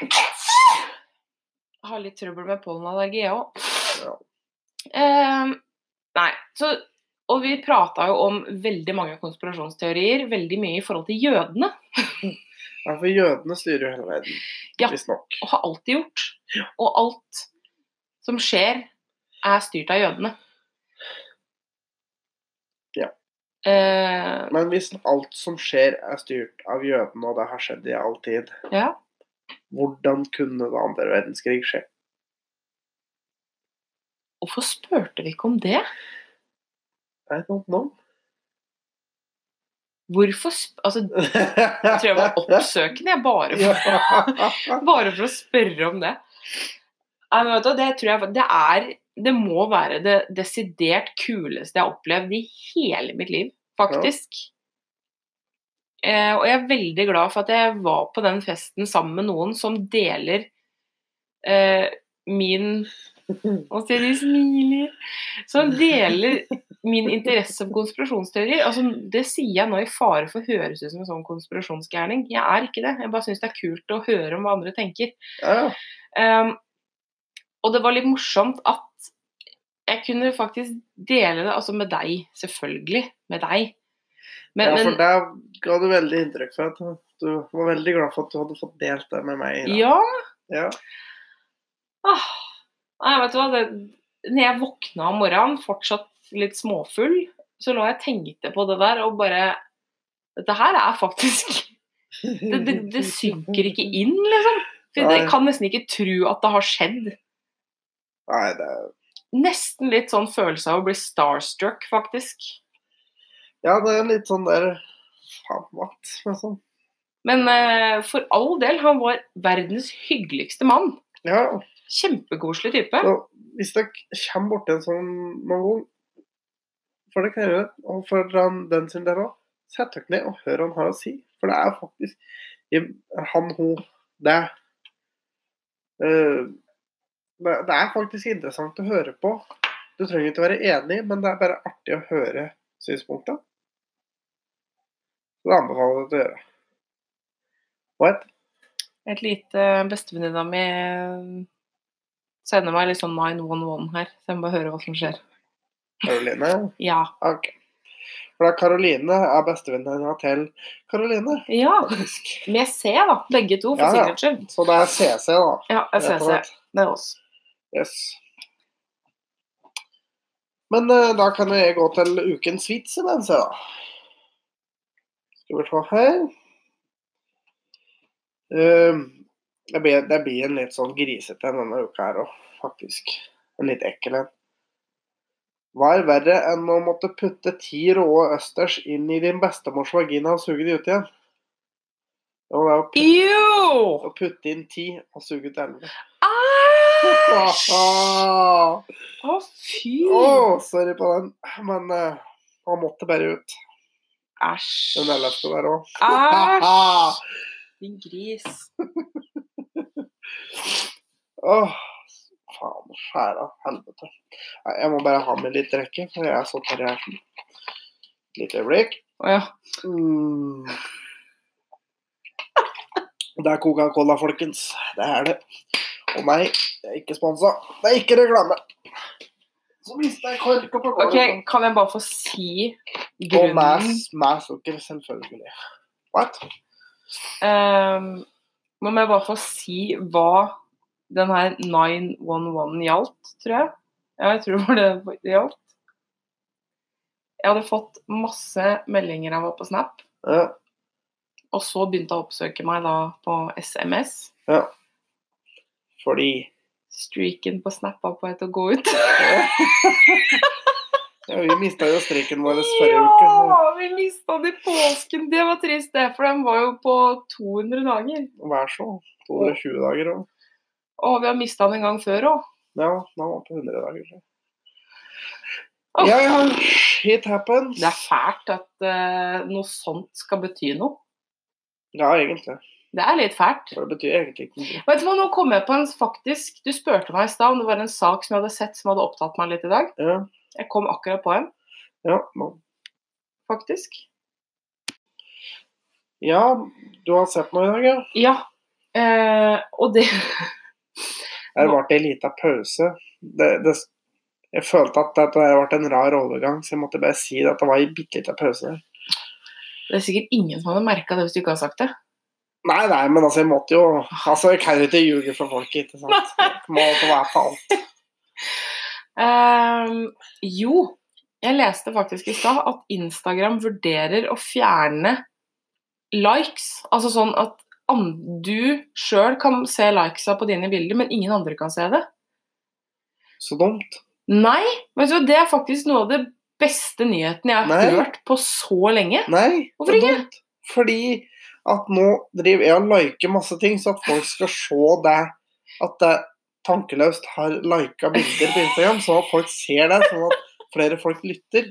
[SPEAKER 2] Jeg har litt trøbbel med pollenallergi, jeg òg.
[SPEAKER 1] Ja.
[SPEAKER 2] Eh, Ehm, nei, så Og vi prata jo om veldig mange konspirasjonsteorier, veldig mye i forhold til jødene.
[SPEAKER 1] Ja, for jødene styrer jo hele verden,
[SPEAKER 2] Ja.
[SPEAKER 1] visstnok.
[SPEAKER 2] Og har alltid gjort. Og alt som skjer, er styrt av jødene.
[SPEAKER 1] Ja.
[SPEAKER 2] Eh,
[SPEAKER 1] Men hvis alt som skjer er styrt av jødene, og det har skjedd i all tid,
[SPEAKER 2] ja.
[SPEAKER 1] hvordan kunne det andre verdenskrig skje?
[SPEAKER 2] Hvorfor spurte vi ikke om det?
[SPEAKER 1] I don't know.
[SPEAKER 2] Hvorfor sp altså, Jeg tror jeg var oppsøkende, jeg, bare for
[SPEAKER 1] Ja.
[SPEAKER 2] Bare for å spørre om det. Nei, men vet du, det tror jeg fa- det er Det må være det desidert kuleste jeg har opplevd i hele mitt liv, faktisk. Eh, og jeg er veldig glad for at jeg var på den festen sammen med noen som deler eh, min Å se, de smiler! Som deler min interesse for konspirasjonsteorier. Altså, det sier jeg nå i fare for å høres ut som en sånn konspirasjonsgærning. Jeg er ikke det. Jeg bare syns det er kult å høre om hva andre tenker.
[SPEAKER 1] Ja,
[SPEAKER 2] Ehm, og det var litt morsomt at jeg kunne faktisk dele det altså med deg, selvfølgelig. Med deg. Men,
[SPEAKER 1] ja, for
[SPEAKER 2] men
[SPEAKER 1] der ga du veldig inntrykk for at du var veldig glad for at du hadde fått delt det med meg. da.
[SPEAKER 2] ja.
[SPEAKER 1] Ja.
[SPEAKER 2] Ah, nei, vet du hva. Det, når jeg våkna om morgenen, fortsatt litt småfull, så lå jeg og tenkte på det der og bare Dette her er faktisk det, det, det synker ikke inn, liksom. For
[SPEAKER 1] Nei.
[SPEAKER 2] jeg kan nesten ikke tro at det har skjedd.
[SPEAKER 1] Nei, det er
[SPEAKER 2] Nesten litt sånn følelse av å bli starstruck, faktisk.
[SPEAKER 1] Ja, det er litt sånn der Faen, what? Men sånn.
[SPEAKER 2] Men eh, for all del, han var verdens hyggeligste mann.
[SPEAKER 1] Ja,
[SPEAKER 2] Kjempekoselig type.
[SPEAKER 1] så hvis dere kommer borti en sånn noen gang, for det kan jeg gjøre, og for den, den sin del òg, sett dere ned og hør hva han har å si. For det er faktisk i- han, hun, det eh, det, det er faktisk interessant å høre på. Du trenger ikke være enig, men det er bare artig å høre synspunkta. Så det anbefaler jeg deg å gjøre. What?
[SPEAKER 2] Et lite eh, bestevenninna mi eh, sender meg litt sånn 911 her, så jeg må bare høre hva som skjer.
[SPEAKER 1] Karoline?
[SPEAKER 2] Ja.
[SPEAKER 1] Ok. For da Karoline er bestevenninna til Karoline.
[SPEAKER 2] Ja. Med C, da. Begge to, for
[SPEAKER 1] Ja, ja.
[SPEAKER 2] sikkerhets skyld.
[SPEAKER 1] Så det er CC, da.
[SPEAKER 2] Ja, jeg
[SPEAKER 1] rett
[SPEAKER 2] ser
[SPEAKER 1] og
[SPEAKER 2] C.
[SPEAKER 1] slett.
[SPEAKER 2] Det er oss.
[SPEAKER 1] Yes. Men eh, da kan jeg gå til ukens vits imens, jeg, da. Skal vi se her Eh, det, blir, det blir en litt sånn grisete en denne uka her òg, faktisk. En litt ekkel en. Hva er verre enn å måtte putte ti råe østers inn i din bestemors vagina og suge de ut igjen? Jo, det er å putte,
[SPEAKER 2] Jo!
[SPEAKER 1] å putte inn ti og suge ut elleve.
[SPEAKER 2] Æsj!
[SPEAKER 1] Haha.
[SPEAKER 2] Ah! Å, fy!
[SPEAKER 1] Å, sorry på den. Men eh, han måtte bare ut.
[SPEAKER 2] Æsj.
[SPEAKER 1] Den ellevte der òg.
[SPEAKER 2] Æsj! Din gris.
[SPEAKER 1] Åh, faen. Skjæra. Helvete. Nei, jeg må bare ha med litt drikke, for jeg er så tørr i halsen. Et lite øyeblikk.
[SPEAKER 2] Å ja.
[SPEAKER 1] Mm. Det er Coca-Cola, folkens. Det er det. Og nei, det er ikke sponsa. Det er ikke reklame. Så mista jeg korka på
[SPEAKER 2] Ok,
[SPEAKER 1] gulvet.
[SPEAKER 2] kan jeg bare få si
[SPEAKER 1] Og med,
[SPEAKER 2] grunnen?
[SPEAKER 1] med sukker, selvfølgelig. What?
[SPEAKER 2] Ehm, Nå må jeg bare få si hva den her 911 gjaldt, tror jeg. Ja, jeg tror det var det det gjaldt. Jeg hadde fått masse meldinger av henne på Snap,
[SPEAKER 1] Ja.
[SPEAKER 2] og så begynte hun å oppsøke meg da på SMS.
[SPEAKER 1] Fordi
[SPEAKER 2] Streaken på Snap var på vei til å gå ut.
[SPEAKER 1] ja, Vi mista jo streken vår forrige uke. Så.
[SPEAKER 2] Ja, vi mista den i påsken! Det var trist, det, for den var jo på 200 dager.
[SPEAKER 1] Vær så. 220 dager og
[SPEAKER 2] Og vi har mista den en gang før òg.
[SPEAKER 1] Ja, nå var det på 100 dager. Så. Ja, ja. Shit happens.
[SPEAKER 2] Det er fælt at eh, noe sånt skal bety noe.
[SPEAKER 1] Ja, egentlig.
[SPEAKER 2] Det er litt fælt.
[SPEAKER 1] For det betyr egentlig ikke noe.
[SPEAKER 2] Vet du hva, nå kom jeg på en faktisk Du spurte meg i stad om det var en sak som jeg hadde sett som hadde opptatt meg litt i dag.
[SPEAKER 1] Ja,
[SPEAKER 2] Jeg kom akkurat på en,
[SPEAKER 1] ja, nå-
[SPEAKER 2] faktisk.
[SPEAKER 1] ja, du har sett noe i dag, ja?
[SPEAKER 2] Ja. Eh, og det
[SPEAKER 1] Her ble det en liten pause. Det, det, Jeg følte at dette her ble en rar overgang, så jeg måtte bare si det at det var en bitte liten pause der.
[SPEAKER 2] Det er sikkert ingen som hadde merka det hvis du ikke hadde sagt det.
[SPEAKER 1] Nei, nei, men altså, jeg måtte jo Altså, jeg kan jo ikke ljuge for folk, ikke sant. Jeg må få være på alt.
[SPEAKER 2] Ehm, jo, jeg leste faktisk i stad at Instagram vurderer å fjerne likes. Altså sånn at an- du sjøl kan se likesa på dine bilder, men ingen andre kan se det.
[SPEAKER 1] Så dumt.
[SPEAKER 2] Nei, vet du, det er faktisk noe av det beste nyheten jeg har
[SPEAKER 1] Nei.
[SPEAKER 2] hørt på så lenge.
[SPEAKER 1] Nei.
[SPEAKER 2] Hvorfor
[SPEAKER 1] det er
[SPEAKER 2] ikke?
[SPEAKER 1] dumt. Fordi at nå driver jeg og liker masse ting, så at folk skal se det. At det tankeløst har lika bilder på Instagram, sånn at folk ser det, sånn at flere folk lytter.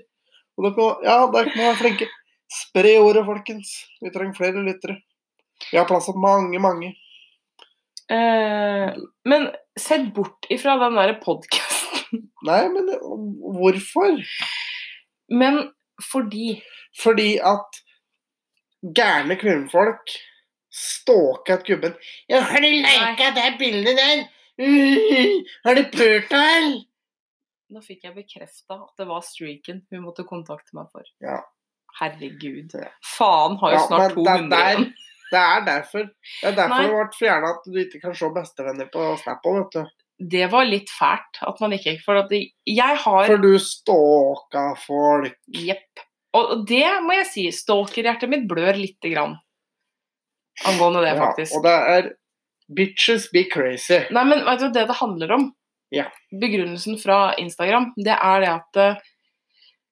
[SPEAKER 1] Og dere må, ja, dere må være flinke. Spre ordet, folkens. Vi trenger flere lyttere. Vi har plass til mange, mange.
[SPEAKER 2] Eh, men sett bort ifra den derre podkasten.
[SPEAKER 1] Nei, men det- hvorfor?
[SPEAKER 2] Men fordi
[SPEAKER 1] Fordi at gærne kvinnfolk stalker at gubben Ja, har de lika det bildet der? Uh, har de pult deg?
[SPEAKER 2] Nå fikk jeg bekrefta at det var streaken hun måtte kontakte meg for.
[SPEAKER 1] Ja.
[SPEAKER 2] Herregud.
[SPEAKER 1] Ja.
[SPEAKER 2] Faen har jo
[SPEAKER 1] Ja,
[SPEAKER 2] snart
[SPEAKER 1] men det er
[SPEAKER 2] 200 igjen.
[SPEAKER 1] Det er derfor Det er derfor
[SPEAKER 2] Nei.
[SPEAKER 1] det ble fjerna at du ikke kan se bestevenner på Snap òg, vet du.
[SPEAKER 2] Det var litt fælt at man ikke For at det- jeg har
[SPEAKER 1] For du stalka folk.
[SPEAKER 2] Jepp. Og og det må jeg si. Stalkerhjertet mitt blør lite grann. Angående det,
[SPEAKER 1] Ja,
[SPEAKER 2] faktisk.
[SPEAKER 1] og det er Bitches be crazy.
[SPEAKER 2] Nei, men vet du hva det det handler om?
[SPEAKER 1] Ja.
[SPEAKER 2] Begrunnelsen fra Instagram, det er det at eh,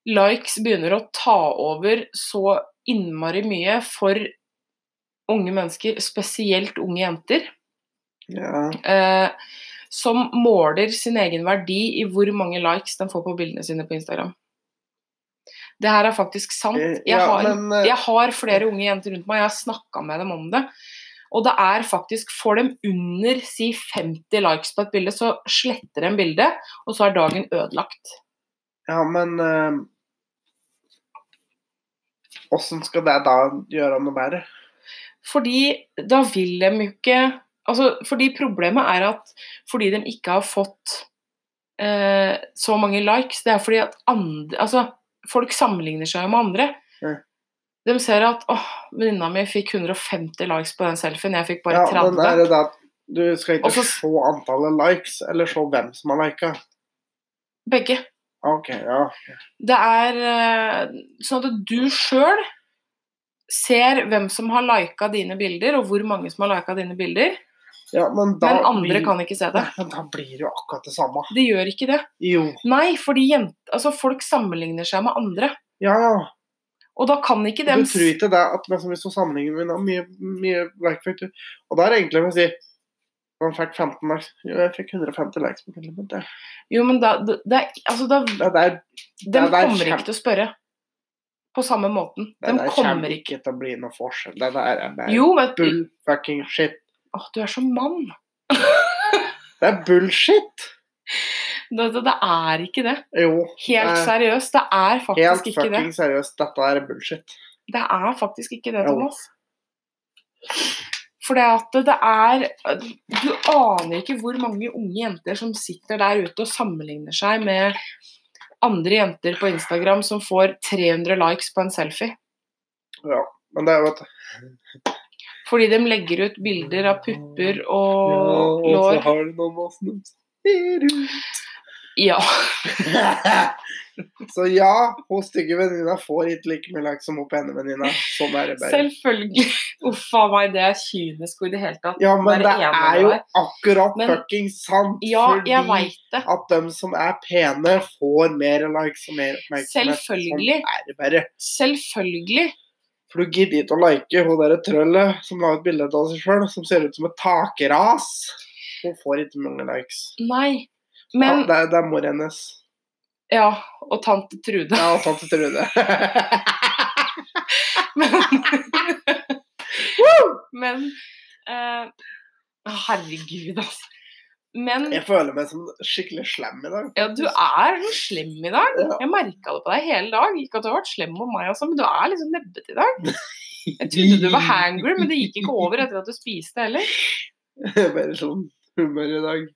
[SPEAKER 2] likes begynner å ta over så innmari mye for unge mennesker, spesielt unge jenter,
[SPEAKER 1] Ja.
[SPEAKER 2] eh, som måler sin egen verdi i hvor mange likes de får på bildene sine på Instagram. Det her er faktisk sant. Jeg
[SPEAKER 1] Ja,
[SPEAKER 2] har
[SPEAKER 1] men, eh,
[SPEAKER 2] jeg har flere unge jenter rundt meg, jeg har snakka med dem om det. Og det er faktisk Får dem under si 50 likes på et bilde, så sletter de bildet, og så er dagen ødelagt.
[SPEAKER 1] Ja, men eh, Åssen skal det da gjøre noe bedre?
[SPEAKER 2] Fordi da vil de jo ikke Altså, fordi problemet er at fordi de ikke har fått eh, så mange likes, det er fordi at andre Altså, folk sammenligner seg jo med andre.
[SPEAKER 1] Ja.
[SPEAKER 2] De ser at åh, venninna mi fikk 150 likes på den selfien, jeg fikk bare
[SPEAKER 1] Ja,
[SPEAKER 2] 30.
[SPEAKER 1] men er det da at du skal ikke
[SPEAKER 2] Og så-
[SPEAKER 1] se antallet likes, eller se hvem som har lika?
[SPEAKER 2] Begge.
[SPEAKER 1] Ok, ja.
[SPEAKER 2] Det er eh, sånn at du sjøl ser hvem som har lika dine bilder, og hvor mange som har lika dine bilder,
[SPEAKER 1] ja men, da
[SPEAKER 2] men andre
[SPEAKER 1] blir,
[SPEAKER 2] kan ikke se det.
[SPEAKER 1] Men da blir det jo akkurat det samme.
[SPEAKER 2] Det gjør ikke det.
[SPEAKER 1] Jo.
[SPEAKER 2] Nei, fordi jent, altså, folk sammenligner seg med andre,
[SPEAKER 1] Ja, ja.
[SPEAKER 2] og da kan ikke
[SPEAKER 1] Du
[SPEAKER 2] dem
[SPEAKER 1] tror ikke det at liksom, hvis du sammenligner med noe, mye, mye like fikk du. Og da er det egentlig med å si man fikk 15 likes. Jo, jeg fikk 150 likes på filmen. Det,
[SPEAKER 2] Jo, men da, det, det er- altså, da
[SPEAKER 1] det der, der
[SPEAKER 2] Dem kommer
[SPEAKER 1] kjem-
[SPEAKER 2] ikke til å spørre på samme måten.
[SPEAKER 1] det
[SPEAKER 2] Dem
[SPEAKER 1] der
[SPEAKER 2] kommer
[SPEAKER 1] kommer
[SPEAKER 2] ikke
[SPEAKER 1] ikke til å bli noe forskjell. Det der er bare
[SPEAKER 2] Jo, vet du
[SPEAKER 1] bull fucking shit.
[SPEAKER 2] Åh, du er så mann.
[SPEAKER 1] Det er bullshit!
[SPEAKER 2] Det, det, det er ikke det.
[SPEAKER 1] Jo.
[SPEAKER 2] Helt
[SPEAKER 1] det er
[SPEAKER 2] seriøst, det er
[SPEAKER 1] Helt
[SPEAKER 2] faktisk ikke det.
[SPEAKER 1] fucking seriøst, dette er bullshit.
[SPEAKER 2] Det er faktisk ikke det,
[SPEAKER 1] Jo.
[SPEAKER 2] Thomas. For det at det er Du aner ikke hvor mange unge jenter som sitter der ute og sammenligner seg med andre jenter på Instagram som får 300 likes på en selfie.
[SPEAKER 1] Men det er jo et
[SPEAKER 2] Fordi de legger ut bilder av pupper og
[SPEAKER 1] Ja, og så
[SPEAKER 2] lår.
[SPEAKER 1] har du noen å snuse.
[SPEAKER 2] Ja.
[SPEAKER 1] Så ja, hun stygge venninna får ikke like mye likes som hun pene venninna. Sånn er det bare.
[SPEAKER 2] Selvfølgelig. Uff a meg, det er kynisk og i det hele tatt.
[SPEAKER 1] Ja, men det
[SPEAKER 2] Være enig
[SPEAKER 1] er
[SPEAKER 2] med
[SPEAKER 1] jo
[SPEAKER 2] deg.
[SPEAKER 1] akkurat
[SPEAKER 2] Men-
[SPEAKER 1] fucking sant.
[SPEAKER 2] Ja, jeg
[SPEAKER 1] fordi
[SPEAKER 2] veit det.
[SPEAKER 1] at de som er pene, får mer likes og mer oppmerksomhet.
[SPEAKER 2] Selvfølgelig.
[SPEAKER 1] Sånn er det bare.
[SPEAKER 2] Selvfølgelig.
[SPEAKER 1] For du gidder ikke å like hun derre trøllet som la ut bilde av seg sjøl, som ser ut som et takras. Hun får ikke mange likes.
[SPEAKER 2] Nei. Men
[SPEAKER 1] ja, det, er, det er mor hennes.
[SPEAKER 2] Ja. Og tante Trude.
[SPEAKER 1] Ja, og tante Trude.
[SPEAKER 2] Men, men eh, Herregud, altså. Men
[SPEAKER 1] Jeg føler meg som skikkelig slam i dag.
[SPEAKER 2] ja, du er så slem i dag.
[SPEAKER 1] Ja.
[SPEAKER 2] Jeg merka det på deg hele dag. Ikke at du har vært slem mot meg, også, men du er liksom nebbete i dag. Jeg trodde du var hangry, men det gikk ikke over etter at du spiste heller.
[SPEAKER 1] Bare sånn humør i dag.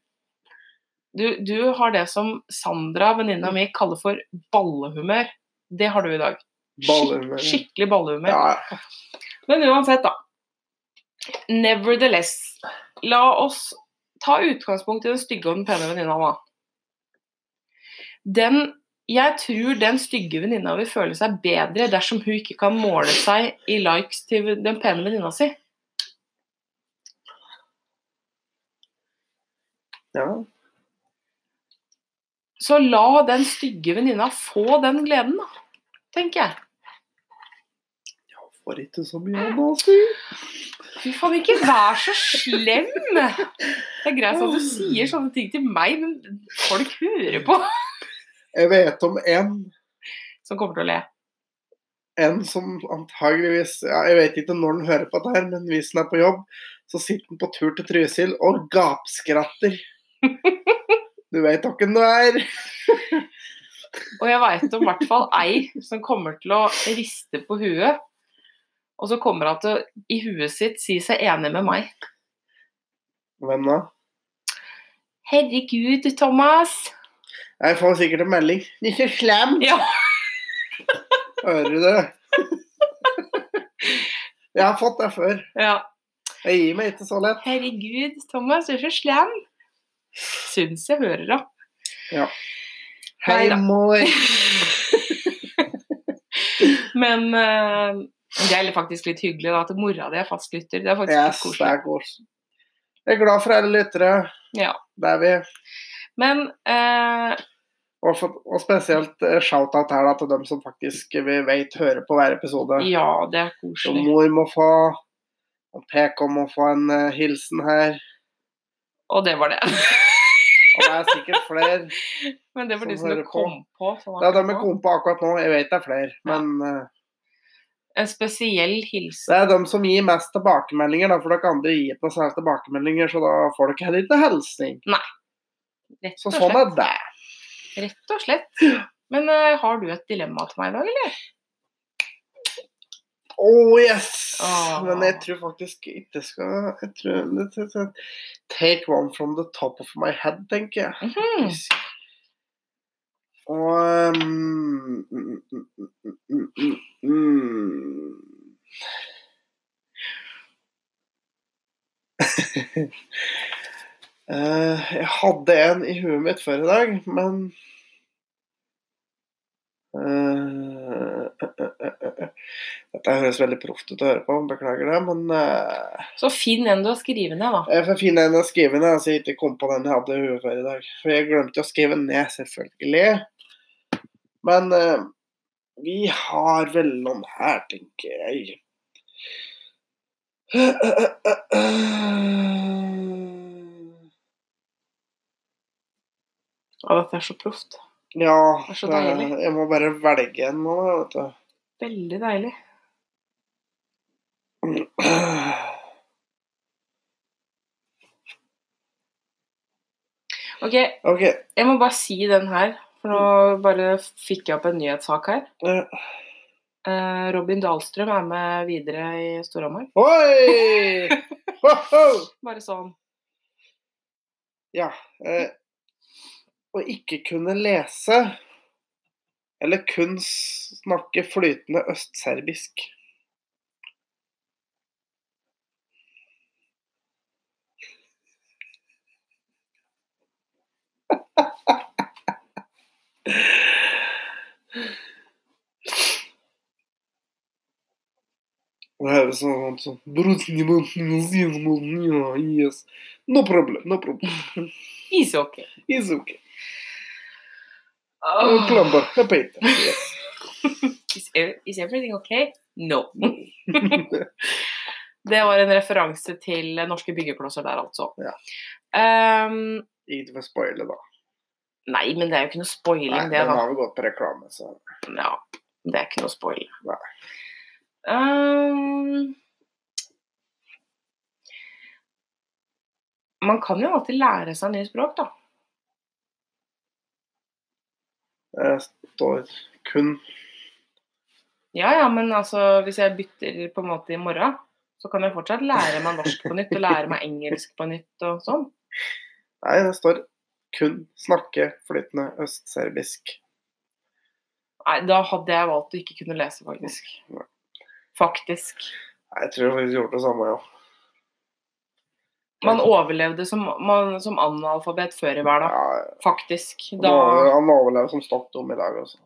[SPEAKER 2] Du, du har det som Sandra, venninna mi, kaller for ballehumør. Det har du i dag.
[SPEAKER 1] Ballehumør, ja.
[SPEAKER 2] Skik skikkelig ballehumør.
[SPEAKER 1] Ja,
[SPEAKER 2] Men uansett, da. Nevertheless. La oss ta utgangspunkt i den stygge og den pene venninna, da. Den Jeg tror den stygge venninna vil føle seg bedre dersom hun ikke kan måle seg i likes til den pene venninna si.
[SPEAKER 1] ja.
[SPEAKER 2] Så la den stygge venninna få den gleden, da. Tenker jeg.
[SPEAKER 1] Får ikke så mye annet å si.
[SPEAKER 2] Fy faen, ikke vær så slem! Det er greit at du sier sånne ting til meg, men folk hører på.
[SPEAKER 1] Jeg vet om en
[SPEAKER 2] Som kommer til å le.
[SPEAKER 1] en som antageligvis ja, Jeg vet ikke når han hører på det her, men hvis han er på jobb, så sitter han på tur til Trysil og gapskratter. Du vet hvem du er.
[SPEAKER 2] Og jeg veit om i hvert fall ei som kommer til å riste på huet. Og så kommer hun til å i huet sitt si seg enig med meg.
[SPEAKER 1] Hvem da?
[SPEAKER 2] Herregud, Thomas.
[SPEAKER 1] Jeg får sikkert en melding. Ikke slem!
[SPEAKER 2] Ja.
[SPEAKER 1] Hører du det? Jeg har fått det før.
[SPEAKER 2] Ja.
[SPEAKER 1] Jeg gir meg ikke så lett.
[SPEAKER 2] Herregud, Thomas, du er så slem. Syns jeg hører henne.
[SPEAKER 1] Hei,
[SPEAKER 2] Neida.
[SPEAKER 1] mor.
[SPEAKER 2] Men eh, det er faktisk litt hyggelig da, at mora di er fastlytter. Det er faktisk
[SPEAKER 1] Yes,
[SPEAKER 2] litt
[SPEAKER 1] det
[SPEAKER 2] koselig.
[SPEAKER 1] er kos. Jeg er glad for alle lyttere.
[SPEAKER 2] Ja.
[SPEAKER 1] Det er vi.
[SPEAKER 2] Men eh,
[SPEAKER 1] Og, for, og spesielt eh, shout-out her da, til dem som faktisk vi vet hører på hver episode.
[SPEAKER 2] ja, det er
[SPEAKER 1] Så
[SPEAKER 2] koselig.
[SPEAKER 1] mor må få, og PK må få en eh, hilsen her.
[SPEAKER 2] Og det var det.
[SPEAKER 1] Og det er sikkert flere.
[SPEAKER 2] Men det var
[SPEAKER 1] Som
[SPEAKER 2] de som du
[SPEAKER 1] hører på.
[SPEAKER 2] kom på. sånn som
[SPEAKER 1] Det er dem jeg
[SPEAKER 2] akkurat nå.
[SPEAKER 1] kom på akkurat nå. Jeg vet det er flere. Men eh,
[SPEAKER 2] En spesiell hilsen.
[SPEAKER 1] det er dem som gir mest tilbakemeldinger, da, for dere andre gir ikke noe særlig tilbakemeldinger, så da får dere heller ikke hilsning.
[SPEAKER 2] Rett
[SPEAKER 1] Så
[SPEAKER 2] og
[SPEAKER 1] sånn
[SPEAKER 2] slett.
[SPEAKER 1] er det.
[SPEAKER 2] Rett og slett. Men eh, har du et dilemma til meg i dag, eller?
[SPEAKER 1] Oh yes!
[SPEAKER 2] Ah.
[SPEAKER 1] Men jeg tror faktisk ikke skal jeg tror, det- det- det- Take one from the top of my head, tenker jeg.
[SPEAKER 2] Mhm.
[SPEAKER 1] Og um, mm, mm, mm, mm, mm, mm. Eh, Jeg hadde en i huet mitt før i dag, men Eh, eh, eh, eh, eh. Dette høres veldig proft ut å høre på, beklager det, men eh,
[SPEAKER 2] Så finn en du har skrevet ned, da.
[SPEAKER 1] jeg får finne en å skrive ned, så jeg ikke kom på den jeg hadde i huet før i dag. For jeg glemte å skrive ned, selvfølgelig. Men eh, vi har vel noen her, tenker jeg.
[SPEAKER 2] Å, dette er så proft.
[SPEAKER 1] Ja, eh,
[SPEAKER 2] Det er så deilig.
[SPEAKER 1] jeg må bare velge en nå, vet du.
[SPEAKER 2] Veldig deilig. Ok,
[SPEAKER 1] Ok.
[SPEAKER 2] jeg må bare si den her, for nå bare fikk jeg opp en nyhetssak her.
[SPEAKER 1] eh,
[SPEAKER 2] Eh, Robin Dahlstrøm er med videre i Storhamar.
[SPEAKER 1] Oi! Ho, ho!
[SPEAKER 2] Bare sånn.
[SPEAKER 1] Ja. Eh, å ikke kunne lese eller kun s- snakke flytende østserbisk. Det høres sånn ut som Yes. No problem, no problem.
[SPEAKER 2] Ishockey.
[SPEAKER 1] It's okay.
[SPEAKER 2] Oh.
[SPEAKER 1] Plumber, repeat. Yes.
[SPEAKER 2] Is, ev- is everything okay? No. det var en referanse til norske byggeklosser der, altså.
[SPEAKER 1] Ja.
[SPEAKER 2] Ehm,
[SPEAKER 1] Ikke for å spoile, da.
[SPEAKER 2] nei, men det er jo ikke noe spoiling,
[SPEAKER 1] Nei,
[SPEAKER 2] det,
[SPEAKER 1] den
[SPEAKER 2] da.
[SPEAKER 1] har vi gått på reklame, så
[SPEAKER 2] Ja, det er ikke noe spoiling.
[SPEAKER 1] Nei.
[SPEAKER 2] Ehm, man kan jo alltid lære seg nye språk, da.
[SPEAKER 1] det står kun
[SPEAKER 2] Ja, ja, men altså, hvis jeg bytter på en måte i morgen, så kan jeg fortsatt lære meg norsk på nytt, og lære meg engelsk på nytt og sånn.
[SPEAKER 1] Nei, det står kun snakke flytende østserbisk.
[SPEAKER 2] Nei, da hadde jeg valgt å ikke kunne lese, faktisk. Faktisk.
[SPEAKER 1] Nei, Jeg tror jeg faktisk gjorde det samme, ja.
[SPEAKER 2] Man overlevde som, man, som analfabet før i verden.
[SPEAKER 1] ja
[SPEAKER 2] Faktisk.
[SPEAKER 1] han
[SPEAKER 2] Da
[SPEAKER 1] overlever- Han overlever som stoppdom i dag også.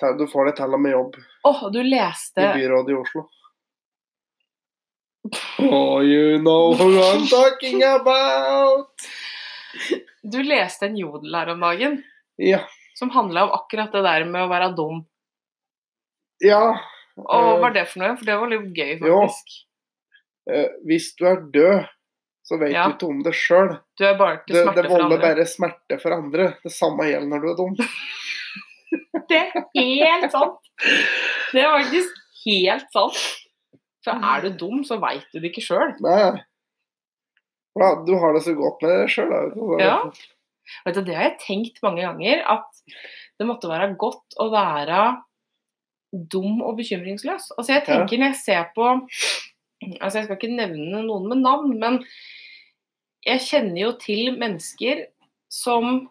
[SPEAKER 1] Ta- Du får det til og med jobb
[SPEAKER 2] Åh, du leste
[SPEAKER 1] i byrådet i Oslo. Oh, you know who I'm talking about!
[SPEAKER 2] Du leste en jodel her om dagen
[SPEAKER 1] Ja.
[SPEAKER 2] som handla om akkurat det der med å være dum.
[SPEAKER 1] ja.
[SPEAKER 2] Og hva
[SPEAKER 1] Eh,
[SPEAKER 2] var det for noe? For det var litt gøy,
[SPEAKER 1] Jo.
[SPEAKER 2] faktisk.
[SPEAKER 1] eh, hvis du er død, så vet
[SPEAKER 2] Ja.
[SPEAKER 1] du ikke om det sjøl.
[SPEAKER 2] Du er bare til
[SPEAKER 1] Det,
[SPEAKER 2] smerte
[SPEAKER 1] det
[SPEAKER 2] for
[SPEAKER 1] volder
[SPEAKER 2] andre.
[SPEAKER 1] bare smerte for andre. Det samme gjelder når du er dum.
[SPEAKER 2] Det er helt sant. Det er faktisk helt sant. For er du dum, så veit du det ikke sjøl.
[SPEAKER 1] Nei. Ja, du har det så godt med det sjøl, da. Så-
[SPEAKER 2] Ja. Vet du, Det har jeg tenkt mange ganger, at det måtte være godt å være dum og bekymringsløs. Altså jeg tenker når jeg ser på altså Jeg skal ikke nevne noen med navn, men jeg kjenner jo til mennesker som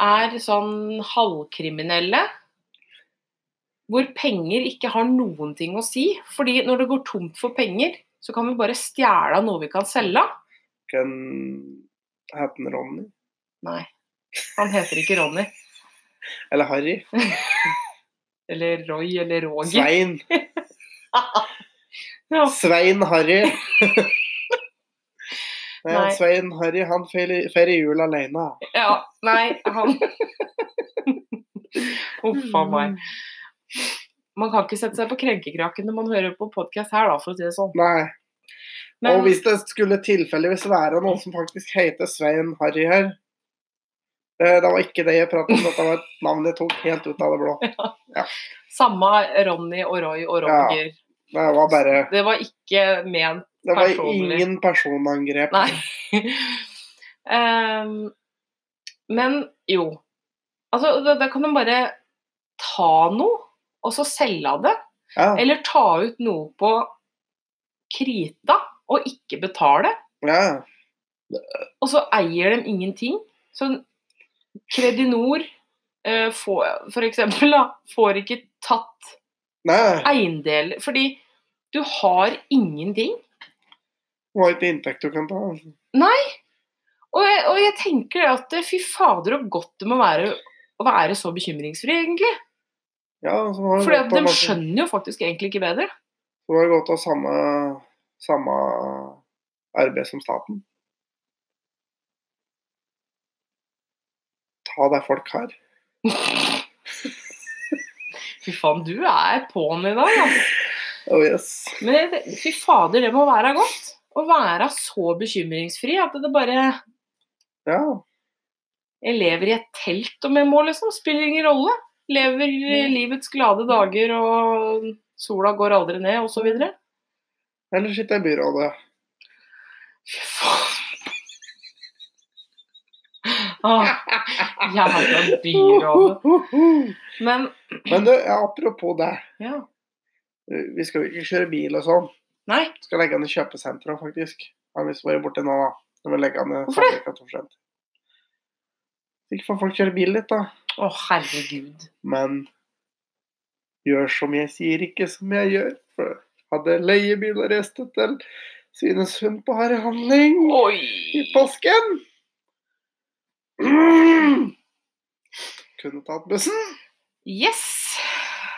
[SPEAKER 2] er sånn halvkriminelle. Hvor penger ikke har noen ting å si. Fordi når det går tomt for penger, så kan vi bare stjele av noe vi kan selge. av.
[SPEAKER 1] Ken- Heter han Ronny?
[SPEAKER 2] Nei. Han heter ikke Ronny.
[SPEAKER 1] Eller Harry?
[SPEAKER 2] Eller Roy eller Roger.
[SPEAKER 1] Svein.
[SPEAKER 2] Ja.
[SPEAKER 1] Svein Harry. Nei, han
[SPEAKER 2] Nei.
[SPEAKER 1] Svein Harry han feirer feirer jul alene.
[SPEAKER 2] ja. Nei, han Uff a meg.
[SPEAKER 1] Mm.
[SPEAKER 2] Man kan ikke sette seg på krenkekraken når man hører på podkast her, da, for å si det sånn.
[SPEAKER 1] Nei.
[SPEAKER 2] Men
[SPEAKER 1] Og hvis det skulle tilfeldigvis være noen som faktisk heter Svein Harry her eh, Det var ikke det jeg pratet om, dette var et navn jeg tok helt ut av det blå.
[SPEAKER 2] samme Ronny og Roy
[SPEAKER 1] Ja.
[SPEAKER 2] og Roger.
[SPEAKER 1] Det var bare
[SPEAKER 2] Det var ikke ment
[SPEAKER 1] Det var
[SPEAKER 2] Personlig.
[SPEAKER 1] ingen personangrep.
[SPEAKER 2] Nei. Ehm, men jo. Altså, da, da kan man bare ta noe, og så selge av det.
[SPEAKER 1] Ja,
[SPEAKER 2] Eller ta ut noe på krita og ikke betale.
[SPEAKER 1] ja.
[SPEAKER 2] Og så eier de ingenting. Så Kredinor eh, får- for eksempel, da, får ikke tatt
[SPEAKER 1] Nei,
[SPEAKER 2] eiendeler fordi du har ingenting.
[SPEAKER 1] det var ikke inntekt du kan ta. altså.
[SPEAKER 2] Og jeg, og jeg tenker det at fy fader, så godt det må være å være så bekymringsfri, egentlig.
[SPEAKER 1] Ja, så var det
[SPEAKER 2] For
[SPEAKER 1] godt å
[SPEAKER 2] de
[SPEAKER 1] ha-
[SPEAKER 2] skjønner jo faktisk egentlig ikke bedre.
[SPEAKER 1] så var det godt å ha samme, samme arbeid som staten. Ta det folk har.
[SPEAKER 2] Fy faen, du er på'n i dag, altså.
[SPEAKER 1] Oh yes.
[SPEAKER 2] Men det- fy fader, det må være godt. Å være så bekymringsfri at det bare
[SPEAKER 1] Ja.
[SPEAKER 2] Jeg lever i et telt om jeg må, liksom. Spiller ingen rolle. Lever eh, livets glade dager, og sola går aldri ned, osv.
[SPEAKER 1] Eller sitter jeg i byrådet.
[SPEAKER 2] Fy faen. Ah, jævla byrådet. Men
[SPEAKER 1] Men du, ja, apropos det.
[SPEAKER 2] ja.
[SPEAKER 1] Vi skal jo ikke kjøre bil og sånn.
[SPEAKER 2] Nei,
[SPEAKER 1] Vi skal legge ned kjøpesenteret, faktisk. Har vi vært borti nå, da. Så vi legger ned
[SPEAKER 2] Hvorfor det?
[SPEAKER 1] Sandvika Torskjent. Ikke for folk kjører bil litt, da.
[SPEAKER 2] å herregud.
[SPEAKER 1] Men gjør som jeg sier, ikke som jeg gjør. For hadde leiebil og reiste til Svinesund på Harryhandling
[SPEAKER 2] Oi!
[SPEAKER 1] i påsken. Mm. Kunne tatt bussen.
[SPEAKER 2] Yes!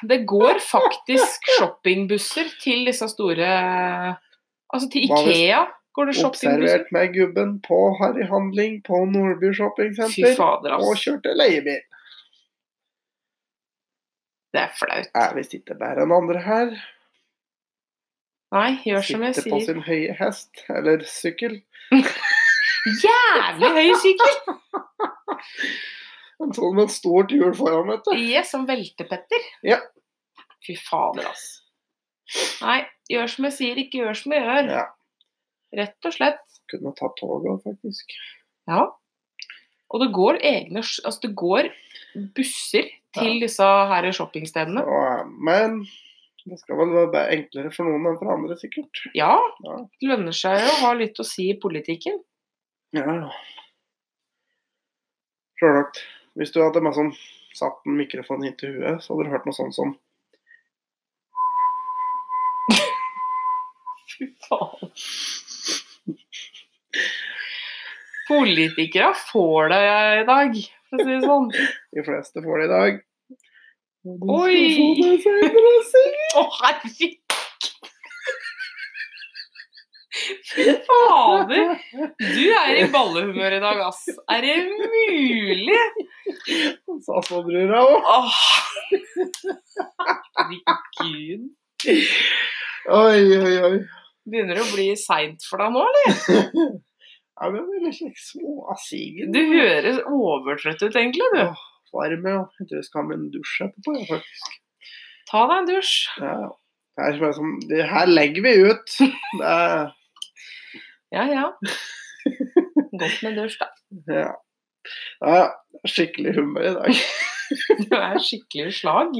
[SPEAKER 2] Det går faktisk shoppingbusser til disse store Altså til
[SPEAKER 1] Hva hvis-
[SPEAKER 2] Ikea går det shoppingbusser.
[SPEAKER 1] Observert med gubben på Harryhandling på Nordby
[SPEAKER 2] Fy
[SPEAKER 1] shoppingsenter.
[SPEAKER 2] fader,
[SPEAKER 1] Og
[SPEAKER 2] altså.
[SPEAKER 1] kjørte leiebil.
[SPEAKER 2] Det er flaut.
[SPEAKER 1] Er visst ikke bedre enn andre her.
[SPEAKER 2] Nei, gjør som jeg
[SPEAKER 1] Sitter på
[SPEAKER 2] sier.
[SPEAKER 1] sin høye hest, eller sykkel.
[SPEAKER 2] Jævlig høy sykkel!
[SPEAKER 1] En sånn med et stort hjul foran, vet du.
[SPEAKER 2] Yes, som veltepetter.
[SPEAKER 1] Ja.
[SPEAKER 2] Fy fader, altså. Nei, gjør som jeg sier, ikke gjør som jeg gjør.
[SPEAKER 1] Ja.
[SPEAKER 2] Rett og slett.
[SPEAKER 1] Kunne tatt toget, faktisk.
[SPEAKER 2] Ja. Og det går egne sj- Altså, det går busser til disse her shoppingstedene.
[SPEAKER 1] Ja, men det skal vel være bare enklere for noen enn for andre, sikkert.
[SPEAKER 2] Ja.
[SPEAKER 1] Ja.
[SPEAKER 2] Det lønner seg jo å ha litt å si i politikken.
[SPEAKER 1] Ja, ja. Sjølsagt. Hvis du hadde meg som satt en mikrofon hit til huet, så hadde du hørt noe sånt som
[SPEAKER 2] Fy faen. Politikere får det i dag, for å si det sånn.
[SPEAKER 1] de fleste får det i dag.
[SPEAKER 2] Oi!
[SPEAKER 1] Du skal få det senere, sikkert.
[SPEAKER 2] Å, herregud! Fy fader! Du er i ballehumør i dag, ass. Er det mulig?
[SPEAKER 1] Sa så brura òg.
[SPEAKER 2] Åh! Herregud.
[SPEAKER 1] Oi, oi, oi.
[SPEAKER 2] Begynner det å bli seint for deg nå, eller?
[SPEAKER 1] Ja, men det er litt små av sigen.
[SPEAKER 2] Du høres overtrøtt ut, egentlig. du.
[SPEAKER 1] Varme, og jeg tror jeg skal ha meg en dusj etterpå. i hvert fall.
[SPEAKER 2] Ta deg en dusj.
[SPEAKER 1] Ja, ja. Det, er bare som, sånn- det her legger vi ut. Det er,
[SPEAKER 2] Ja, ja. Godt med dusj, da.
[SPEAKER 1] ja. Ja, skikkelig humør i dag.
[SPEAKER 2] Du er skikkelig i slag.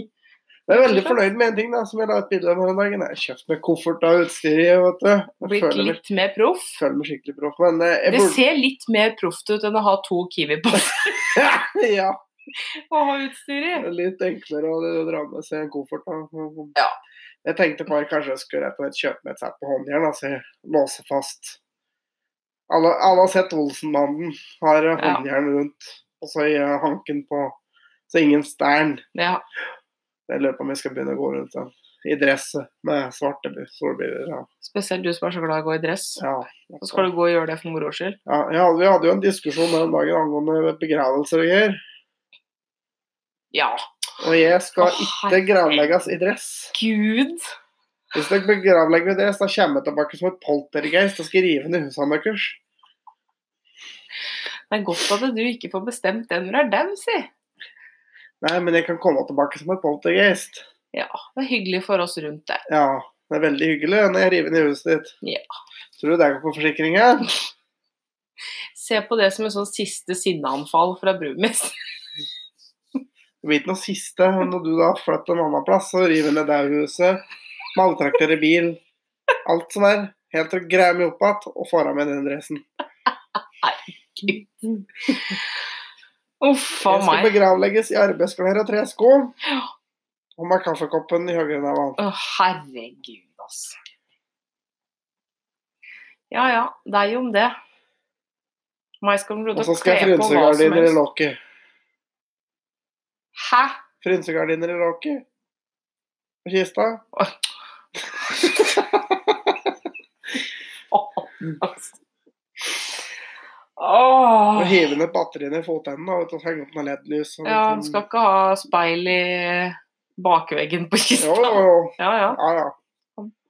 [SPEAKER 1] Jeg er veldig fornøyd med en ting da, som jeg la ut bilde av her om dagen. Jeg har kjøpt meg koffert og utstyr i. vet du. Jeg
[SPEAKER 2] Blitt
[SPEAKER 1] føler meg,
[SPEAKER 2] litt mer proff.
[SPEAKER 1] føler meg skikkelig proff. Men eh, jeg
[SPEAKER 2] Det
[SPEAKER 1] burde
[SPEAKER 2] ser litt mer proft ut enn å ha to Kiwi på
[SPEAKER 1] Ja,
[SPEAKER 2] å ha utstyr i.
[SPEAKER 1] det er litt enklere å å dra med seg en koffert. Da.
[SPEAKER 2] Ja.
[SPEAKER 1] Jeg tenkte bare kanskje jeg skulle rett og slett kjøpe meg et sett på håndjern, altså låse fast. Alle, alle har sett Olsenbanden har eh,
[SPEAKER 2] Ja.
[SPEAKER 1] håndjern rundt, og så i eh, hanken på, så ingen stern.
[SPEAKER 2] Ja.
[SPEAKER 1] Jeg lurer på om jeg skal begynne å gå rundt den i dress med svarte bu- solbriller. Ja.
[SPEAKER 2] Spesielt du som er så glad i å gå i dress.
[SPEAKER 1] Ja,
[SPEAKER 2] Så skal du gå og gjøre det for moro skyld.
[SPEAKER 1] ja, jeg hadde- vi hadde jo en diskusjon her om dagen angående begravelser og greier.
[SPEAKER 2] Ja.
[SPEAKER 1] Og jeg skal
[SPEAKER 2] Å,
[SPEAKER 1] ikke gravlegges i dress.
[SPEAKER 2] Gud!
[SPEAKER 1] Hvis dere begravlegger meg i dress, da kommer jeg tilbake som et poltergeist og skal rive ned husene deres.
[SPEAKER 2] Det er godt at du ikke får bestemt det når det er dem, si.
[SPEAKER 1] Nei, men jeg kan komme tilbake som et poltergeist.
[SPEAKER 2] Ja. Det er hyggelig for oss rundt der.
[SPEAKER 1] Ja, det er veldig hyggelig når jeg river ned huset ditt.
[SPEAKER 2] Ja.
[SPEAKER 1] Tror du det går på forsikringa?
[SPEAKER 2] Se på det som en sånn siste sinneanfall fra Brumis.
[SPEAKER 1] Det blir ikke noe siste men når du da flytter en annen plass og river ned det huset. Maltrakterer bil. Alt som er. Helt til å greie meg opp igjen og får av meg den dressen.
[SPEAKER 2] Uff a
[SPEAKER 1] Jeg skal
[SPEAKER 2] meg.
[SPEAKER 1] begravlegges i arbeidsklær og tresko. Og med kaffekoppen i høyre enn vanlig.
[SPEAKER 2] Å, herregud, altså. Ja ja, det er jo om det. Meg skal du
[SPEAKER 1] Og
[SPEAKER 2] kle
[SPEAKER 1] så skal jeg
[SPEAKER 2] på hva som
[SPEAKER 1] frynsegardiner i
[SPEAKER 2] helst.
[SPEAKER 1] lokket.
[SPEAKER 2] Hæ?
[SPEAKER 1] Frynsegardiner i lokket. På kista.
[SPEAKER 2] Åh, altså. Åh.
[SPEAKER 1] Og hive ned batteriene i fotenden da, vet du, og henge opp noen LED-lys. og
[SPEAKER 2] Ja,
[SPEAKER 1] sånn.
[SPEAKER 2] du skal ikke ha speil i bakveggen på
[SPEAKER 1] Jo,
[SPEAKER 2] kista.
[SPEAKER 1] jo, jo.
[SPEAKER 2] Ja, ja.
[SPEAKER 1] Ja, ja.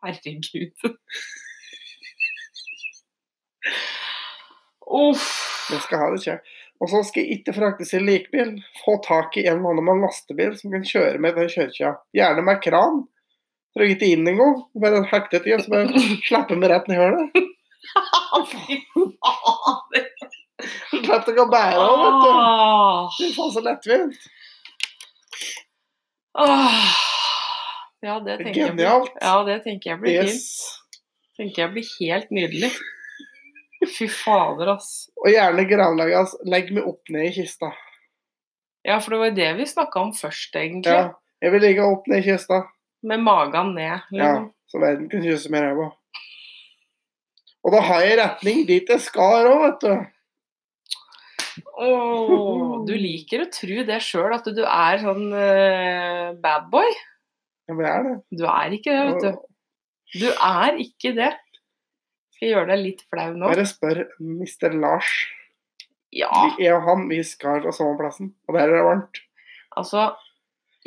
[SPEAKER 2] Herregud. Uff.
[SPEAKER 1] Jeg skal ha det kjekt. Og så skal jeg ikke fraktes i likbil. Få tak i en eller annen med en lastebil som kan kjøre med til kirka. Gjerne med kran. Trenger ikke inn engang. Bare hektet i, og så bare slipper vi rett ned i hølet.
[SPEAKER 2] Fy fader.
[SPEAKER 1] Slipper dere å bære av, vet du.
[SPEAKER 2] Åh.
[SPEAKER 1] Det er faen så lettvint.
[SPEAKER 2] Åh. Ja, det tenker jeg blir,
[SPEAKER 1] Genialt.
[SPEAKER 2] ja, det tenker jeg blir
[SPEAKER 1] Yes.
[SPEAKER 2] fint. Tenker jeg blir helt nydelig. Fy fader, ass.
[SPEAKER 1] Og gjerne gravlegges. Legg meg opp ned i kista.
[SPEAKER 2] Ja, for det var jo det vi snakka om først, egentlig.
[SPEAKER 1] Ja. Jeg vil ligge opp ned i kista.
[SPEAKER 2] Med magen ned.
[SPEAKER 1] Ja,
[SPEAKER 2] Liksom.
[SPEAKER 1] så verden kan kysse med ræva. Og da har jeg retning dit jeg skal òg, vet du.
[SPEAKER 2] Åh, du liker å tro det sjøl, at du er sånn eh, bad boy.
[SPEAKER 1] Ja, men jeg er det.
[SPEAKER 2] Du er ikke det, vet du. Du er ikke det. Skal jeg gjøre deg litt flau nå?
[SPEAKER 1] Bare spør Mr. Lars.
[SPEAKER 2] Ja,
[SPEAKER 1] Vi, jeg og han vi skal fra samme plassen, og der er det varmt.
[SPEAKER 2] altså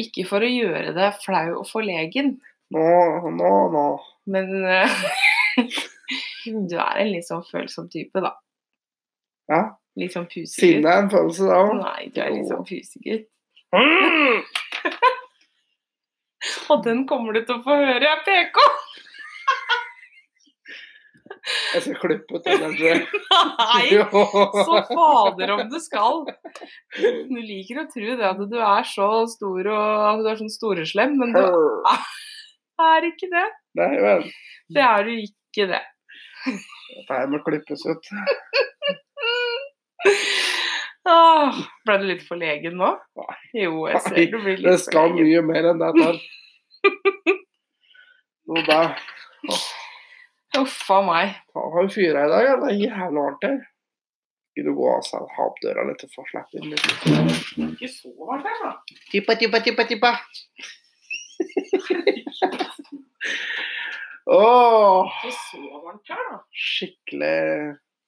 [SPEAKER 2] Ikke for å gjøre deg flau og forlegen,
[SPEAKER 1] Nå, nå, nå.
[SPEAKER 2] men eh, Du er en litt sånn følsom type, da.
[SPEAKER 1] Ja,
[SPEAKER 2] Litt sånn pusegutt.
[SPEAKER 1] Sinne er en følelse, da òg.
[SPEAKER 2] Nei, du er litt sånn pusegutt.
[SPEAKER 1] Mm!
[SPEAKER 2] Og den kommer du til å få høre, jeg PK!
[SPEAKER 1] Jeg skal klippe ut den. tror jeg.
[SPEAKER 2] Nei!
[SPEAKER 1] Jo.
[SPEAKER 2] Så fader om du skal. Du liker å tro det at du er så stor og at du er sånn storeslem, men du er ikke det.
[SPEAKER 1] Nei vel.
[SPEAKER 2] Det er du ikke det.
[SPEAKER 1] Dette her må klippes ut.
[SPEAKER 2] Åh, ble du litt forlegen nå? Jo, jeg ser du blir
[SPEAKER 1] Det
[SPEAKER 2] litt
[SPEAKER 1] skal
[SPEAKER 2] forlegen.
[SPEAKER 1] mye mer enn det der. Nå da.
[SPEAKER 2] Uff a meg.
[SPEAKER 1] Faen, har vi fyra i dag? Ja? Det er jævlig varmt her. Skal du gå av seg og ha opp døra litt og få slippe inn litt?
[SPEAKER 2] Ikke så varmt her, da.
[SPEAKER 1] Tippa, tippa, tippa, tippa. Åh,
[SPEAKER 2] Ikke så varmt her, da.
[SPEAKER 1] skikkelig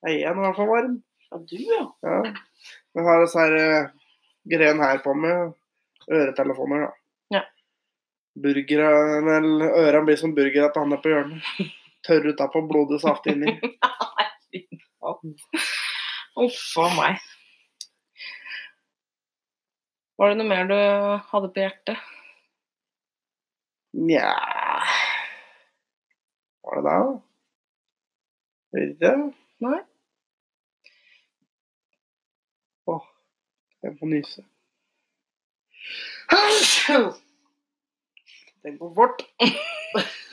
[SPEAKER 1] Jeg er i hvert fall varm.
[SPEAKER 2] Ja, du, ja.
[SPEAKER 1] Ja. Jeg har disse her eh, greiene her på meg. Øretelefoner, da.
[SPEAKER 2] Ja.
[SPEAKER 1] Burgere, eller Ørene blir som burger at han er på hjørnet. Tørr utapå, blodig saft inni.
[SPEAKER 2] Uff a meg. Var det noe mer du hadde på hjertet?
[SPEAKER 1] Nja Var det det, da? Jeg vet ikke.
[SPEAKER 2] Nei.
[SPEAKER 1] Åh, jeg får nyse. Den går fort.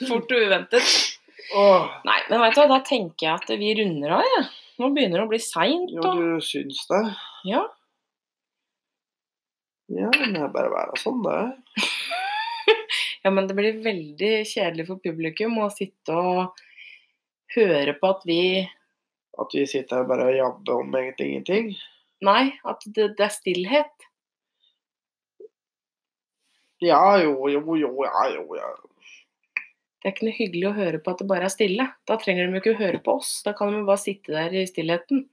[SPEAKER 2] Fort og uventet.
[SPEAKER 1] Åh.
[SPEAKER 2] Nei, men vet du hva, da tenker jeg at vi runder av, jeg. Nå begynner det å bli seint.
[SPEAKER 1] Jo,
[SPEAKER 2] og-
[SPEAKER 1] du syns det.
[SPEAKER 2] Ja.
[SPEAKER 1] Ja, men det er bare å være sånn, det.
[SPEAKER 2] Ja, men det blir veldig kjedelig for publikum å sitte og høre på at vi
[SPEAKER 1] At vi sitter her bare og jabber om egentlig ingenting.
[SPEAKER 2] Nei, at det, det er stillhet.
[SPEAKER 1] Ja, jo, jo, jo, ja, jo, ja.
[SPEAKER 2] Det er ikke noe hyggelig å høre på at det bare er stille. Da trenger de jo ikke å høre på oss. Da kan de jo bare sitte der i stillheten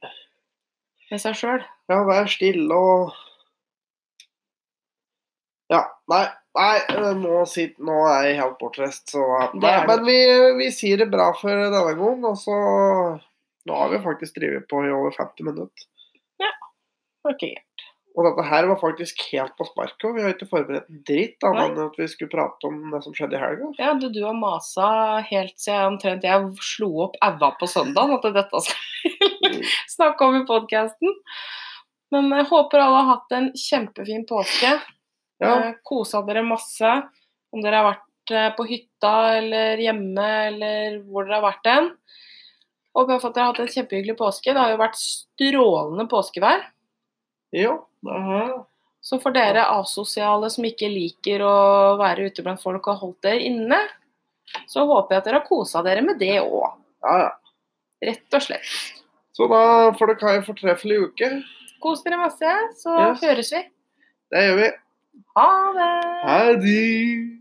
[SPEAKER 2] med seg sjøl.
[SPEAKER 1] Ja, vær stille og Ja, nei, nei, eh, nå, sit, nå er jeg helt bortreist, så
[SPEAKER 2] Det
[SPEAKER 1] nei,
[SPEAKER 2] er du.
[SPEAKER 1] Men vi, vi sier det bra for denne gang, og så Nå har vi faktisk drevet på i over 50 minutter.
[SPEAKER 2] Ok.
[SPEAKER 1] Og dette her var faktisk helt på sparket, og vi har ikke forberedt en dritt annet enn at vi skulle prate om det som skjedde i helga.
[SPEAKER 2] Ja, du, du har masa helt siden omtrent jeg slo opp aua på søndagen at dette skal vi snakke om i podkasten. Men jeg håper alle har hatt en kjempefin påske.
[SPEAKER 1] Ja,
[SPEAKER 2] Eh, Kosa dere masse. Om dere har vært eh, på hytta eller hjemme eller hvor dere har vært hen. Håper jeg at dere har hatt en kjempehyggelig påske. Det har jo vært strålende påskevær.
[SPEAKER 1] jo. aha.
[SPEAKER 2] Så for dere asosiale som ikke liker å være ute blant folk og holdt dere inne, så håper jeg at dere har kosa dere med det òg.
[SPEAKER 1] Ja, ja.
[SPEAKER 2] Rett og slett.
[SPEAKER 1] Så da får dere ha en fortreffelig uke.
[SPEAKER 2] Kos dere masse, så
[SPEAKER 1] Yes.
[SPEAKER 2] høres vi.
[SPEAKER 1] Det gjør vi.
[SPEAKER 2] Ha det!
[SPEAKER 1] Ha det!